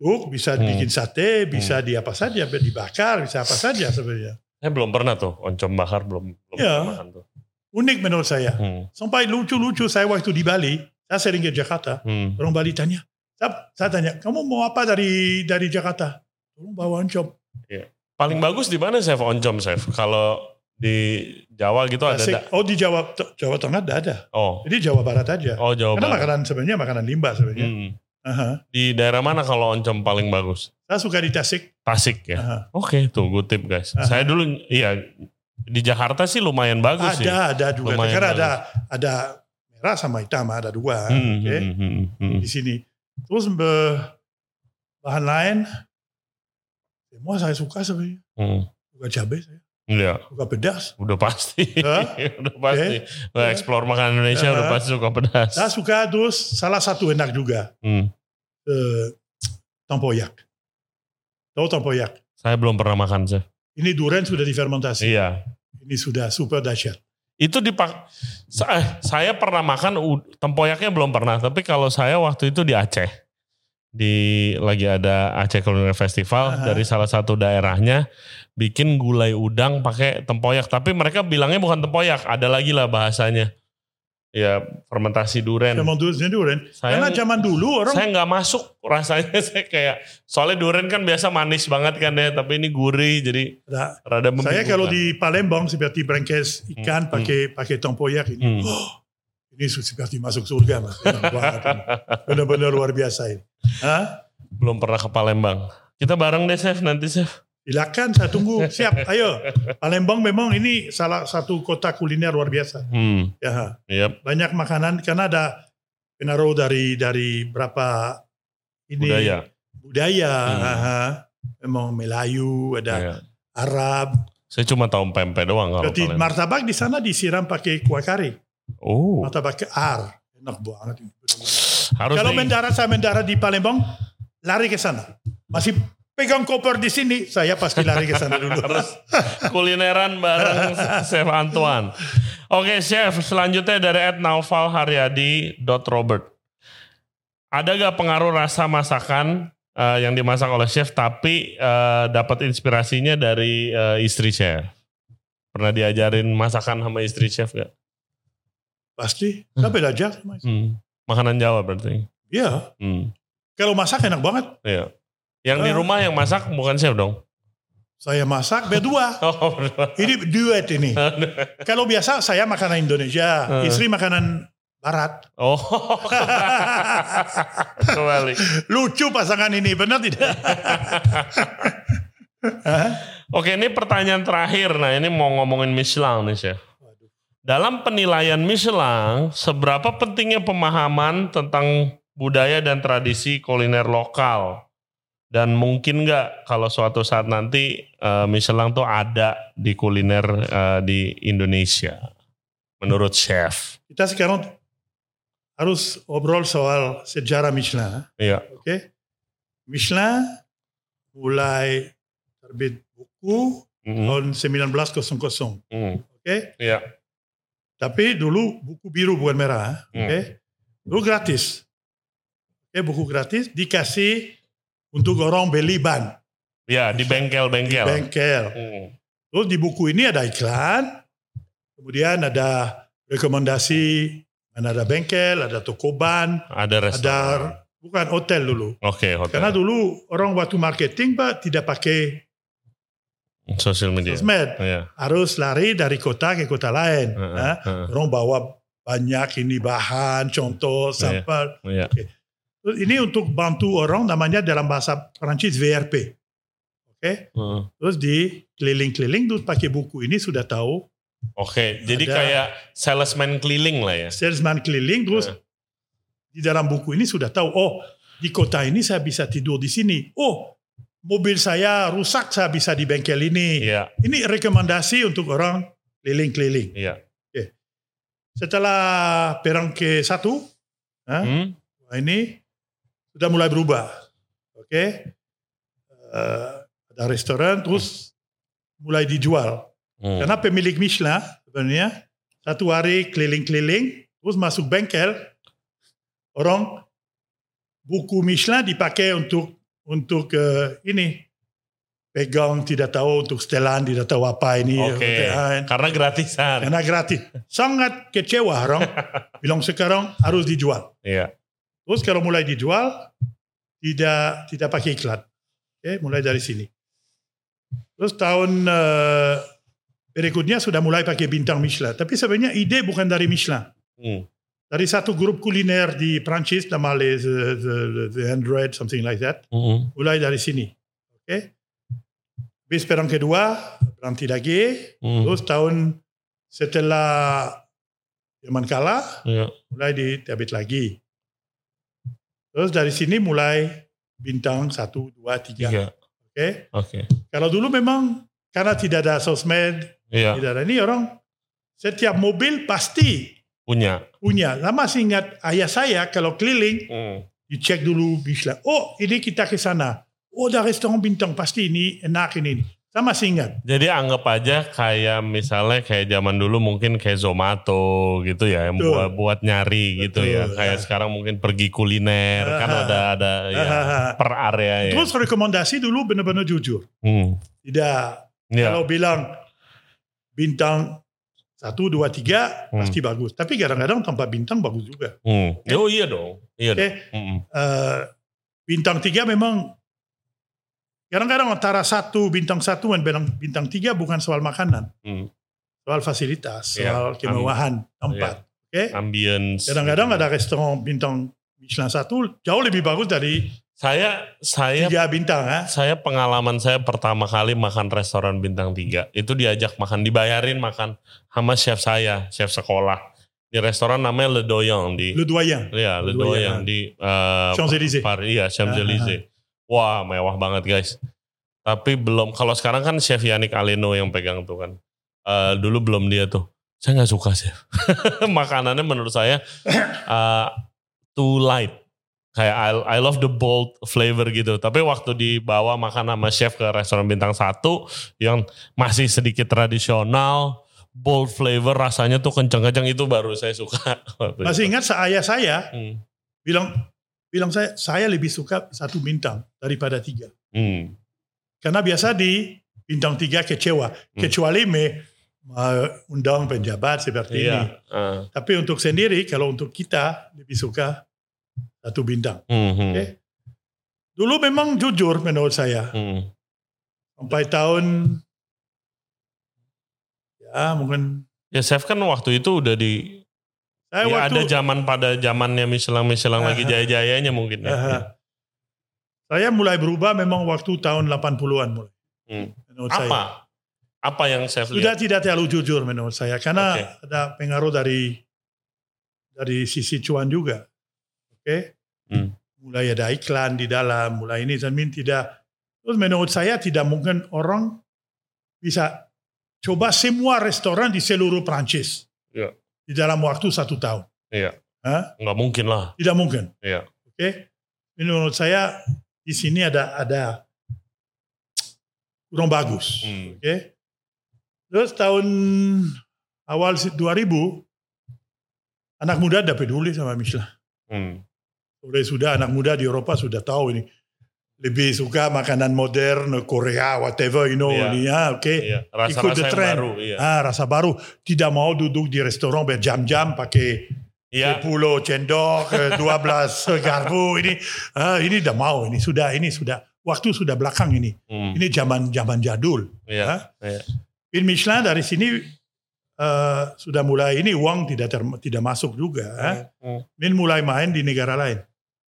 Tuh, bisa
Hmm.
bikin sate, bisa di apa saja, bisa dibakar, bisa apa saja sebenarnya.
Saya Eh, belum pernah tuh. Oncom bakar belum. belum
Iya.
pernah makan tuh.
Unik menurut saya.
Hmm.
Sampai lucu-lucu saya waktu di Bali, saya sering ke Jakarta.
Hmm.
Orang Bali tanya, saya, saya tanya, kamu mau apa dari dari Jakarta? Tolong bawa oncom.
Paling bagus di mana chef oncom chef? Kalau di Jawa gitu ada.
Asik.
da-
Oh di Jawa Jawa Tengah tidak ada.
Oh.
Jadi Jawa Barat aja.
Oh Jawa
Karena
Barat.
makanan sebenarnya makanan limbah sebenarnya.
Hmm.
Aha.
Di daerah mana kalau oncom paling bagus?
Saya suka di Tasik.
Tasik ya.
Aha.
Oke, tuh good tip guys.
Aha.
Saya dulu iya di Jakarta sih lumayan bagus sih.
Ada ada juga.
Lumayan
Karena ada ada merah sama hitam ada dua.
Hmm,
Oke.
hmm, hmm, hmm, hmm.
di sini. Terus be- bahan lain, semua saya suka sebenarnya.
Hmm.
Suka cabai saya,
Iya,
suka pedas.
udah pasti.
Hah?
[laughs] udah pasti. Nah,
Ya.
explore makanan Indonesia
Aha.
udah pasti suka pedas.
Saya suka terus salah satu enak juga,
Hmm.
eh, tempoyak. Tahu tempoyak?
Saya belum pernah makan sih.
Ini durian sudah difermentasi.
Iya.
Ini sudah super dahsyat.
Itu dipak saya, saya pernah makan u- tempoyaknya belum pernah, tapi kalau saya waktu itu di Aceh. Di lagi ada Aceh Culinary Festival
Aha.
dari salah satu daerahnya bikin gulai udang pakai tempoyak, tapi mereka bilangnya bukan tempoyak, ada lagi lah bahasanya. Ya, fermentasi duren.
Fermentasi durian.
Saya
Karena zaman dulu orang
saya nggak masuk rasanya [laughs] saya kayak soalnya duren kan biasa manis banget kan ya, tapi ini gurih jadi
Nah,
rada
saya kalau
membingungkan.
di Palembang seperti brengkes ikan
Hmm.
pakai pakai tempoyak ini.
Hmm.
Oh, ini su- seperti masuk surga mas. Enak banget ini. Benar-benar luar biasa ini. Hah?
[laughs] belum pernah ke Palembang. Kita bareng deh Chef nanti Chef.
Silakan saya tunggu. Siap, ayo. Palembang memang ini salah satu kota kuliner luar biasa.
Hmm,
Ya, ha.
yep.
banyak makanan karena ada pengaruh dari dari berapa ini
budaya.
budaya.
Hmm.
ha. Memang Melayu, ada
Iya.
Arab.
Saya cuma tahu pempek doang kalau
Jadi
Palembang.
martabak di sana disiram pakai kuah kari.
oh,
Martabak ke ar. Enak banget ini.
harus
Kalau
deh.
mendarat saya mendarat di Palembang, lari ke sana. Masih pegang koper di sini, saya pasti lari ke sana
[laughs]
dulu.
harus kulineran
[laughs]
bareng Chef Antoine. Oke Chef, selanjutnya dari at Naufal Haryadi dot Robert. Ada gak pengaruh rasa masakan eh, yang dimasak oleh chef tapi eh, dapat inspirasinya dari eh, istri chef? Pernah diajarin masakan sama istri chef gak?
pasti. Saya belajar. sama istri.
Hmm. Makanan Jawa berarti.
Iya.
Hmm.
Kalau masak enak banget.
Iya. Yang di
Ah.
rumah yang masak bukan chef dong.
Saya masak berdua.
Oh, berdua.
Ini duet ini. Kalau biasa saya makanan Indonesia,
Eh.
istri makanan Barat. [laughs]
oh. [laughs] kembali.
Lucu pasangan ini, benar tidak? Hah?
Oke, ini pertanyaan terakhir. Nah, ini mau ngomongin Michelin nih, Chef. Dalam penilaian Michelin, seberapa pentingnya pemahaman tentang budaya dan tradisi kuliner lokal? Dan mungkin nggak kalau suatu saat nanti eh, Michelin tuh ada di kuliner eh, di Indonesia? Menurut Chef.
Kita sekarang harus obrol soal sejarah Michelin.
Iya.
Oke. Michelin mulai terbit buku
Mm,
tahun 1900. Oke.
mm, Iya.
Tapi dulu buku biru bukan merah. Oke.
Hmm.
Dulu gratis. Oke, buku gratis dikasih untuk orang beli ban
Iya, di bengkel-bengkel.
bengkel.
Mm,
Terus di buku ini ada iklan, kemudian ada rekomendasi, mana ada bengkel, ada toko ban,
Ada restoran.
ada bukan hotel dulu.
Oke, hotel.
Karena dulu orang waktu marketing pak tidak pakai
Sosial media.
sosmed.
Iya.
Harus lari dari kota ke kota lain.
Heeh,
Nah,
heeh.
Orang bawa banyak ini bahan, contoh, sampel.
Iya.
Terus Ini untuk bantu orang namanya dalam bahasa Perancis VRP. Oke,
Heeh.
terus di keliling-keliling terus pakai buku ini sudah tahu
Oke, jadi
Ada-
kayak salesman keliling lah ya.
salesman keliling terus
Heeh.
di dalam buku ini sudah tahu oh di kota ini saya bisa tidur di sini. Oh, mobil saya rusak saya bisa di bengkel ini.
Iya,
Ini rekomendasi untuk orang keliling-keliling.
iya.
Setelah perang ke satu, Hah?
Hmm?
ini sudah mulai berubah. Oke, Eh, ada restoran terus mulai dijual.
Hmm.
Karena pemilik Michelin sebenarnya satu hari keliling-keliling terus masuk bengkel orang buku Michelin dipakai untuk untuk eh, ini pegang tidak tahu untuk setelan tidak tahu apa ini
Oke,
eh,
karena gratisan.
karena gratis sangat kecewa
[laughs]
orang bilang sekarang harus dijual
Iya.
Terus kalau mulai dijual, tidak tidak pakai iklan. Oke, mulai dari sini. Terus tahun eh, berikutnya sudah mulai pakai bintang Michelin. Tapi sebenarnya ide bukan dari Michelin.
Hmm.
Dari satu grup kuliner di Prancis nama les, eh, the, the, the Android, something like that.
Hmm.
Mulai dari sini. Oke. Bis perang kedua, berhenti lagi.
Hmm.
Terus tahun setelah Jerman kalah,
Iya.
mulai ditabit lagi. Terus dari sini mulai bintang satu, dua, tiga. Oke.
Iya. Oke.
Kalau dulu memang karena tidak ada sosmed,
Iya,
tidak ada ini orang setiap mobil pasti
punya.
punya. Lama masih ingat ayah saya kalau keliling
Hmm.
dicek dulu Michelin. Oh ini kita ke sana. Oh ada restoran bintang pasti ini enak ini. Saya masih ingat.
Jadi anggap aja kayak misalnya kayak zaman dulu mungkin kayak Zomato gitu ya, yang
Betul.
buat buat nyari gitu
Betul,
ya. Kayak
ya.
sekarang mungkin pergi kuliner kan
Ah.
ada ada ya
Ah.
per area ya.
Terus rekomendasi dulu benar-benar jujur.
Hmm.
Tidak
Ya.
Kalau bilang bintang satu dua tiga
Hmm.
pasti bagus. Tapi kadang-kadang tanpa bintang bagus juga.
Hmm.
Eh?
Oh iya dong. Iya
Oke,
dong. Hmm.
eh, bintang tiga memang kadang-kadang antara satu bintang satu dan bintang bintang tiga bukan soal makanan,
Hmm.
soal fasilitas,
Iya,
soal kemewahan tempat. Oke,
Ambience.
kadang-kadang ada restoran bintang Michelin satu jauh lebih bagus dari
Saya saya
tiga bintang, ha?
saya pengalaman saya pertama kali makan restoran bintang 3 itu diajak makan dibayarin makan sama chef saya chef sekolah di restoran namanya Le Doyen di
Le Doyen,
ya
Le
Le
Doyen.
Doyen di eh,
Champs Élysées.
Par- iya Champs Élysées wah mewah banget guys tapi belum kalau sekarang kan chef Yannick Aleno yang pegang tuh kan Eh, dulu belum dia tuh saya nggak suka chef [laughs] makanannya menurut saya eh, too light kayak I, I love the bold flavor gitu. Tapi waktu dibawa makan sama chef ke restoran bintang satu yang masih sedikit tradisional, bold flavor rasanya tuh kenceng-kenceng itu baru saya suka. [laughs] Waktu
Masih
itu.
ingat saya saya
Hmm.
bilang bilang saya saya lebih suka satu bintang daripada tiga.
Hmm.
Karena biasa di bintang tiga kecewa.
Hmm.
Kecuali me, me- undang penjabat seperti ini.
Iya. Ah.
Tapi untuk sendiri, kalau untuk kita, lebih suka satu bintang.
Hmm, hmm,
Oke. Dulu memang jujur menurut saya.
hmm.
Sampai tahun, ya mungkin,
Ya chef kan waktu itu udah di
saya
ya ada
Eh, waktu, Eh,
zaman pada zamannya Michelin Michelin lagi
Aha.
jaya-jayanya mungkin. ya.
Aha. saya mulai berubah memang waktu tahun 80-an mulai.
Hmm.
Menurut saya.
Apa? Apa yang chef
Sudah
lihat?
tidak terlalu jujur menurut saya karena ada pengaruh dari dari sisi cuan juga. Oke.
Hmm.
Mulai ada iklan di dalam, mulai ini dan min tidak terus menurut saya tidak mungkin orang bisa coba semua restoran di seluruh Prancis.
Ya.
Di dalam waktu satu tahun.
Iya.
Hah?
Nggak mungkin lah.
Tidak mungkin.
Iya.
Oke. Menurut saya di sini ada ada kurang bagus.
Hmm.
Oke. Terus tahun awal si- 2000, anak muda tidak peduli sama Michelin.
Hmm.
Sudah sudah anak muda di Eropa sudah tahu ini. Lebih suka makanan modern, Korea, whatever, you know.
Iya.
ini, ah, oke.
Iya.
Ikut
Rasa-rasa
the
yang
trend.
baru. Iya.
Ah, rasa baru. Tidak mau duduk di restoran berjam-jam pakai
Iya.
10 cendok, eh, 12 garpu. Ini ah, ini tidak mau. Ini sudah, ini sudah. waktu sudah belakang ini.
Hmm.
Ini zaman zaman jadul.
Iya.
Hah?
Iya.
Pin Michelin dari sini eh, sudah mulai ini uang tidak ter- tidak masuk juga. Hah?
Hmm.
Min mulai main di negara lain.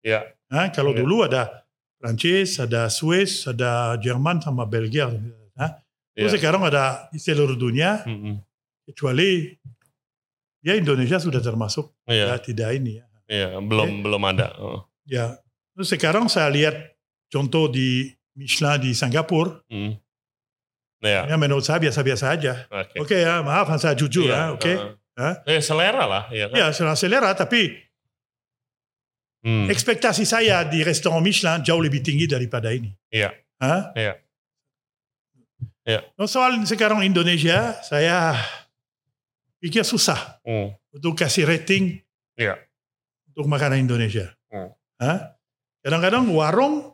Iya.
Hah? Kalau
Iya.
dulu ada Prancis, ada Swiss, ada Jerman sama Belgia. Hah? Terus
Iya. Hmm.
sekarang ada di seluruh dunia
Mm-mm.
kecuali ya Indonesia sudah termasuk
Iya.
ya, tidak ini ya.
Iya. Belum belum ada. Oh.
Ya. Terus sekarang saya lihat contoh di Michelin di Singapura,
Hmm. Iya.
ya menurut saya biasa-biasa aja.
Oke.
Oke ya, maaf saya jujur
Iya,
ya, oke.
heeh. Eh, selera lah, iya kan?
Ya, saya selera tapi
Hmm.
ekspektasi saya di restoran Michelin jauh lebih tinggi daripada ini.
Iya.
Hah?
Iya. Iya.
Nah, soal sekarang Indonesia, saya pikir susah
Hmm.
untuk kasih rating
Iya.
untuk makanan Indonesia.
Hmm.
Hah? Kadang-kadang warung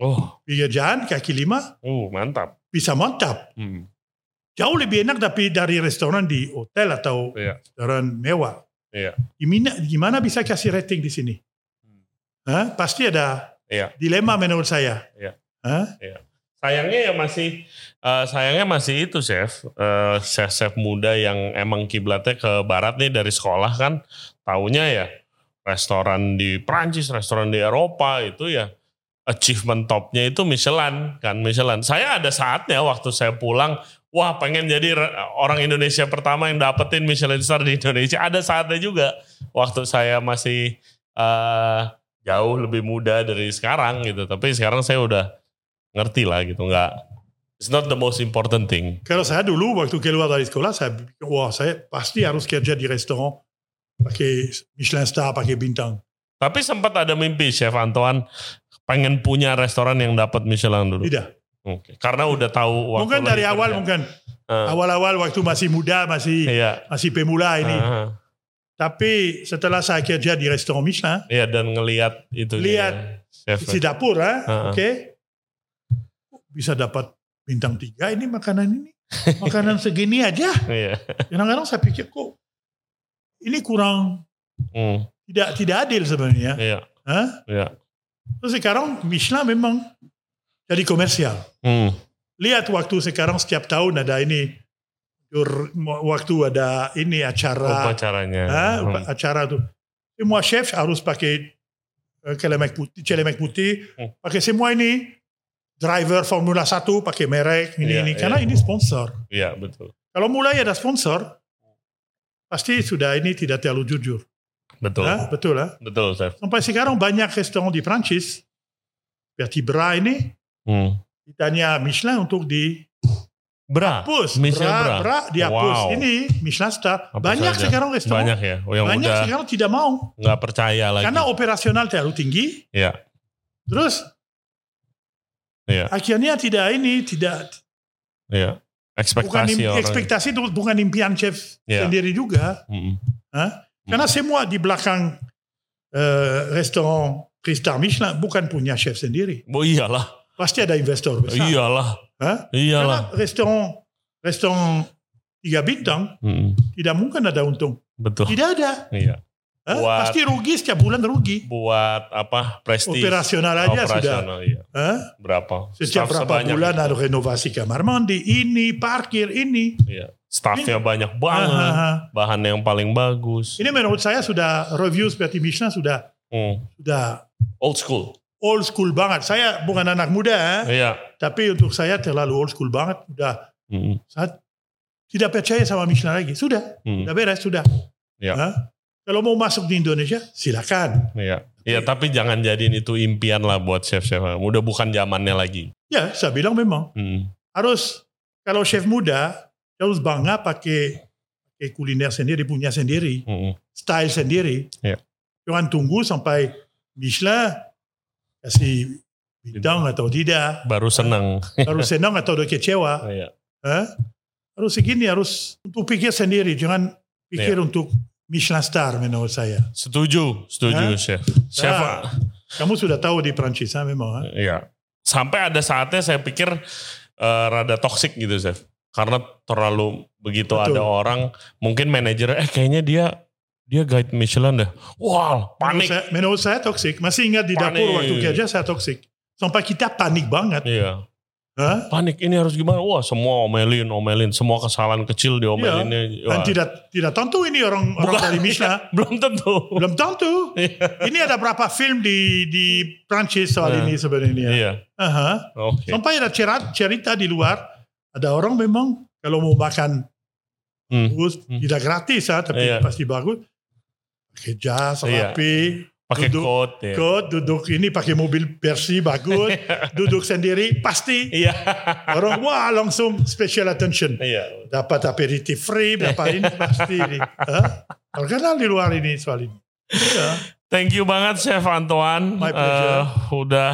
Oh,
pinggir jalan kaki lima
uh, mantap.
bisa mantap.
Hmm.
Jauh lebih enak tapi dari restoran di hotel atau
Iya.
restoran mewah.
Iya. Hmm.
Gimana, gimana bisa kasih rating di sini? Hah? Pasti ada
Iya.
dilema menurut saya.
Iya.
Hah?
Sayangnya ya masih eh, sayangnya masih itu chef, Eh, chef-chef muda yang emang kiblatnya ke barat nih dari sekolah kan taunya ya restoran di Prancis, restoran di Eropa itu ya achievement topnya itu Michelin kan Michelin. Saya ada saatnya waktu saya pulang, wah pengen jadi re- orang Indonesia pertama yang dapetin Michelin star di Indonesia. Ada saatnya juga waktu saya masih eh, jauh lebih muda dari sekarang gitu. Tapi sekarang saya udah ngerti lah gitu, nggak it's not the most important thing.
Kalau saya dulu waktu keluar dari sekolah, saya pikir, wah saya pasti harus kerja di restoran pakai Michelin Star, pakai bintang.
Tapi sempat ada mimpi Chef Antoine pengen punya restoran yang dapat Michelin dulu.
Tidak.
Oke. Karena udah tahu waktu
mungkin
lagi
dari
kerja.
awal mungkin
Eh,
awal-awal waktu masih muda, masih
Iya.
masih pemula [laughs] ini.
Ah,
Tapi setelah saya kerja di restoran Michelin,
Iya dan ngelihat itu.
Lihat.
ya, Chef.
isi dapur, ah,
Ah, ah.
oke, bisa dapat bintang tiga ini makanan ini, makanan segini aja.
Iya.
Kadang-kadang saya pikir kok ini kurang
Hmm,
tidak tidak adil sebenarnya.
Iya.
Hah?
Iya.
Terus sekarang Michelin memang jadi komersial.
Hmm,
Lihat waktu sekarang setiap tahun ada ini dur- waktu ada ini acara
upacaranya.
Ah. Hah?
Hmm,
Upa- acara tuh. Semua chef harus pakai eh, celemek putih, celemek putih,
Hmm.
pakai semua ini. Driver Formula 1 pakai merek ini
Iya,
ini
iya.
karena ini sponsor.
Iya betul.
Kalau mulai ada sponsor pasti sudah ini tidak terlalu jujur.
Betul.
Hah? Betul lah.
Betul Chef.
Sampai sekarang banyak restoran di Prancis seperti Bra ini
Hmm.
ditanya Michelin um untuk dihapus.
Bra. Michelin
Bra,
bra.
bra dihapus.
Wow.
Ini Michelin star.
Apa
banyak
saja.
sekarang restoran.
Banyak ya. oh, Yang
banyak um
udah
sekarang tidak mau.
nggak percaya lagi.
Karena operasional terlalu tinggi.
Iya.
Terus
Iya.
akhirnya tidak ini, tidak
Iya.
bukan
Ekspektasi
im-
orang.
ekspektasi itu bukan impian chef
Iya. Hmm.
sendiri juga.
Mm-mm.
Karena semua di belakang eh, restoran Kristal Michelin bukan punya chef sendiri.
Oh iyalah.
Pasti ada investor besar.
Iyalah.
Hah?
Iya. Iyalah.
Karena restoran restoran tiga bintang
Mm-mm.
tidak mungkin ada untung.
Betul.
Tidak ada.
Iya.
Hah?
Buat-
Pasti rugi setiap bulan rugi.
Buat apa? Prestis.
Operasional aja sudah.
Operasional, Iya.
Hah?
Berapa?
Setiap
Staff
berapa
sebanyak
bulan
itu.
ada renovasi kamar mandi, ini, parkir, ini.
Iya. Staffnya
Ah,
banyak
ah,
banget.
ah.
Bahan yang paling bagus.
Ini menurut saya sudah review seperti Michelin sudah
Hmm.
sudah
Old school.
old school banget. Saya bukan anak muda, eh.
Iya. Hmm.
tapi untuk saya terlalu old school banget. Sudah
Mm-mm.
saya tidak percaya sama Michelin lagi. Sudah,
Mm.
sudah beres, sudah.
Ya.
Hah? Kalau mau masuk di Indonesia, silakan.
Iya. Iya, tapi jangan jadiin itu impian lah buat chef-chef. Udah bukan zamannya lagi.
Ya, saya bilang memang.
Mm.
harus kalau chef muda harus bangga pakai pakai kuliner sendiri punya sendiri
Mm-mm.
style sendiri
Iya.
jangan tunggu sampai Michelin kasih bintang atau tidak
Baru senang. [laughs]
harus senang atau udah kecewa
Iya.
Hah? harus segini harus untuk pikir sendiri jangan pikir
Iya.
untuk Michelin star menurut saya
Setuju, setuju
Hah?
chef. Chef,
Ah. kamu sudah tahu di Prancis ah, memang ah.
Iya. Sampai ada saatnya saya pikir eh, rada toksik gitu, Chef. Karena terlalu begitu
Betul.
ada orang, mungkin manajer eh kayaknya dia dia guide Michelin dah. Wah,
Menurut
panik.
Iya, saya, menurut saya toksik masih ingat di
Panik.
dapur waktu kerja saya toksik Sampai kita panik banget.
Iya.
Hah?
Panik ini harus gimana? Wah semua omelin, omelin. Semua kesalahan kecil diomelinnya.
Dan
Wah.
tidak tidak tentu ini orang, orang
Iya. Bukan.
dari
[laughs]
Mishnah.
Belum tentu.
Belum tentu.
Iya.
ini ada berapa film di di Prancis soal
Nah.
ini sebenarnya.
Iya.
Aha.
Oke.
Sampai ada cerita, cerita di luar, ada orang memang kalau mau makan
Hmm.
bagus,
Hmm.
tidak gratis ya, tapi
Iya.
pasti bagus. Pakai jas,
Iya.
rapi,
Pakai
duduk,
coat ya.
kot, duduk ini pakai mobil bersih
[laughs]
bagus, duduk sendiri pasti
Iya. [laughs]
orang wah langsung special attention.
Iya.
Dapat aperitif free,
[laughs]
dapat ini pasti. Hah? Terkenal di luar ini soal ini. Iya.
Thank you banget Chef Antoine.
My pleasure.
Eh, udah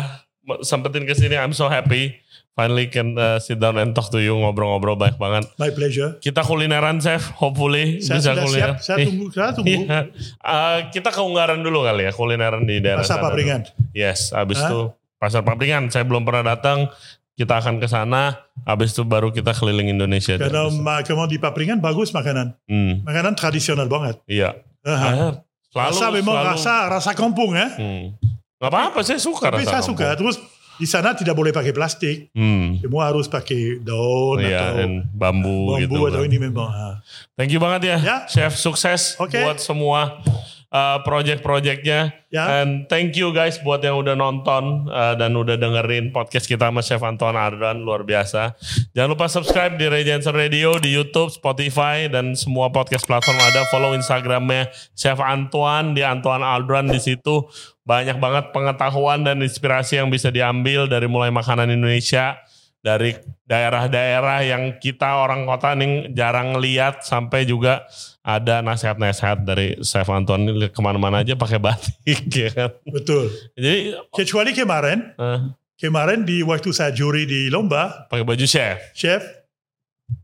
sempetin ke sini. I'm so happy. Finally can eh, sit down and talk to you ngobrol-ngobrol banyak banget.
My pleasure.
Kita kulineran Chef, hopefully
Saya
bisa
sudah siap,
kuliner.
saya
Ih,
tunggu, saya tunggu.
[laughs] iya. Eh, kita ke Unggaran dulu kali ya, kulineran di daerah
Masa
sana dulu.
papringan.
Yes, habis
Hah?
itu pasar Papringan. Saya belum pernah datang. Kita akan ke sana. Habis itu baru kita keliling Indonesia.
Karena ma- kamu di papringan bagus makanan.
Hmm,
Makanan tradisional banget.
iya.
Aha.
Ah, Selalu,
rasa memang
selalu.
rasa rasa kampung ya.
Hmm. Gak apa-apa, saya suka
Tapi saya
rasa kampung.
suka. Terus di sana tidak boleh pakai plastik.
Hmm.
Semua harus pakai daun
Iya,
atau
dan bambu,
bambu
gitu.
atau
kan.
ini memang. ha.
Thank you banget ya,
Ya.
Chef. Sukses
Oke.
buat semua uh, project-projectnya.
Ya.
And thank you guys buat yang udah nonton uh, dan udah dengerin podcast kita sama Chef Anton Ardran luar biasa. Jangan lupa subscribe di Regency Radio di YouTube, Spotify dan semua podcast platform ada. Follow Instagramnya Chef Antoine di Antoine Ardran di situ banyak banget pengetahuan dan inspirasi yang bisa diambil dari mulai makanan Indonesia dari daerah-daerah yang kita orang kota nih jarang lihat sampai juga ada nasihat-nasihat dari Chef Anton ini kemana-mana aja pakai batik [laughs] ya kan.
Betul.
Jadi
Kecuali kemarin,
eh,
kemarin di waktu saya juri di lomba,
pakai baju chef
chef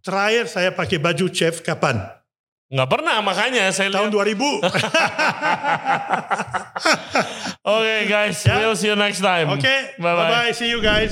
terakhir saya pakai baju chef kapan?
nggak pernah makanya saya
Tahun
lihat. [laughs]
2000.
Oke guys,
Ya.
we'll see you next time.
Oke.
bye
Bye
bye.
bye. See you guys.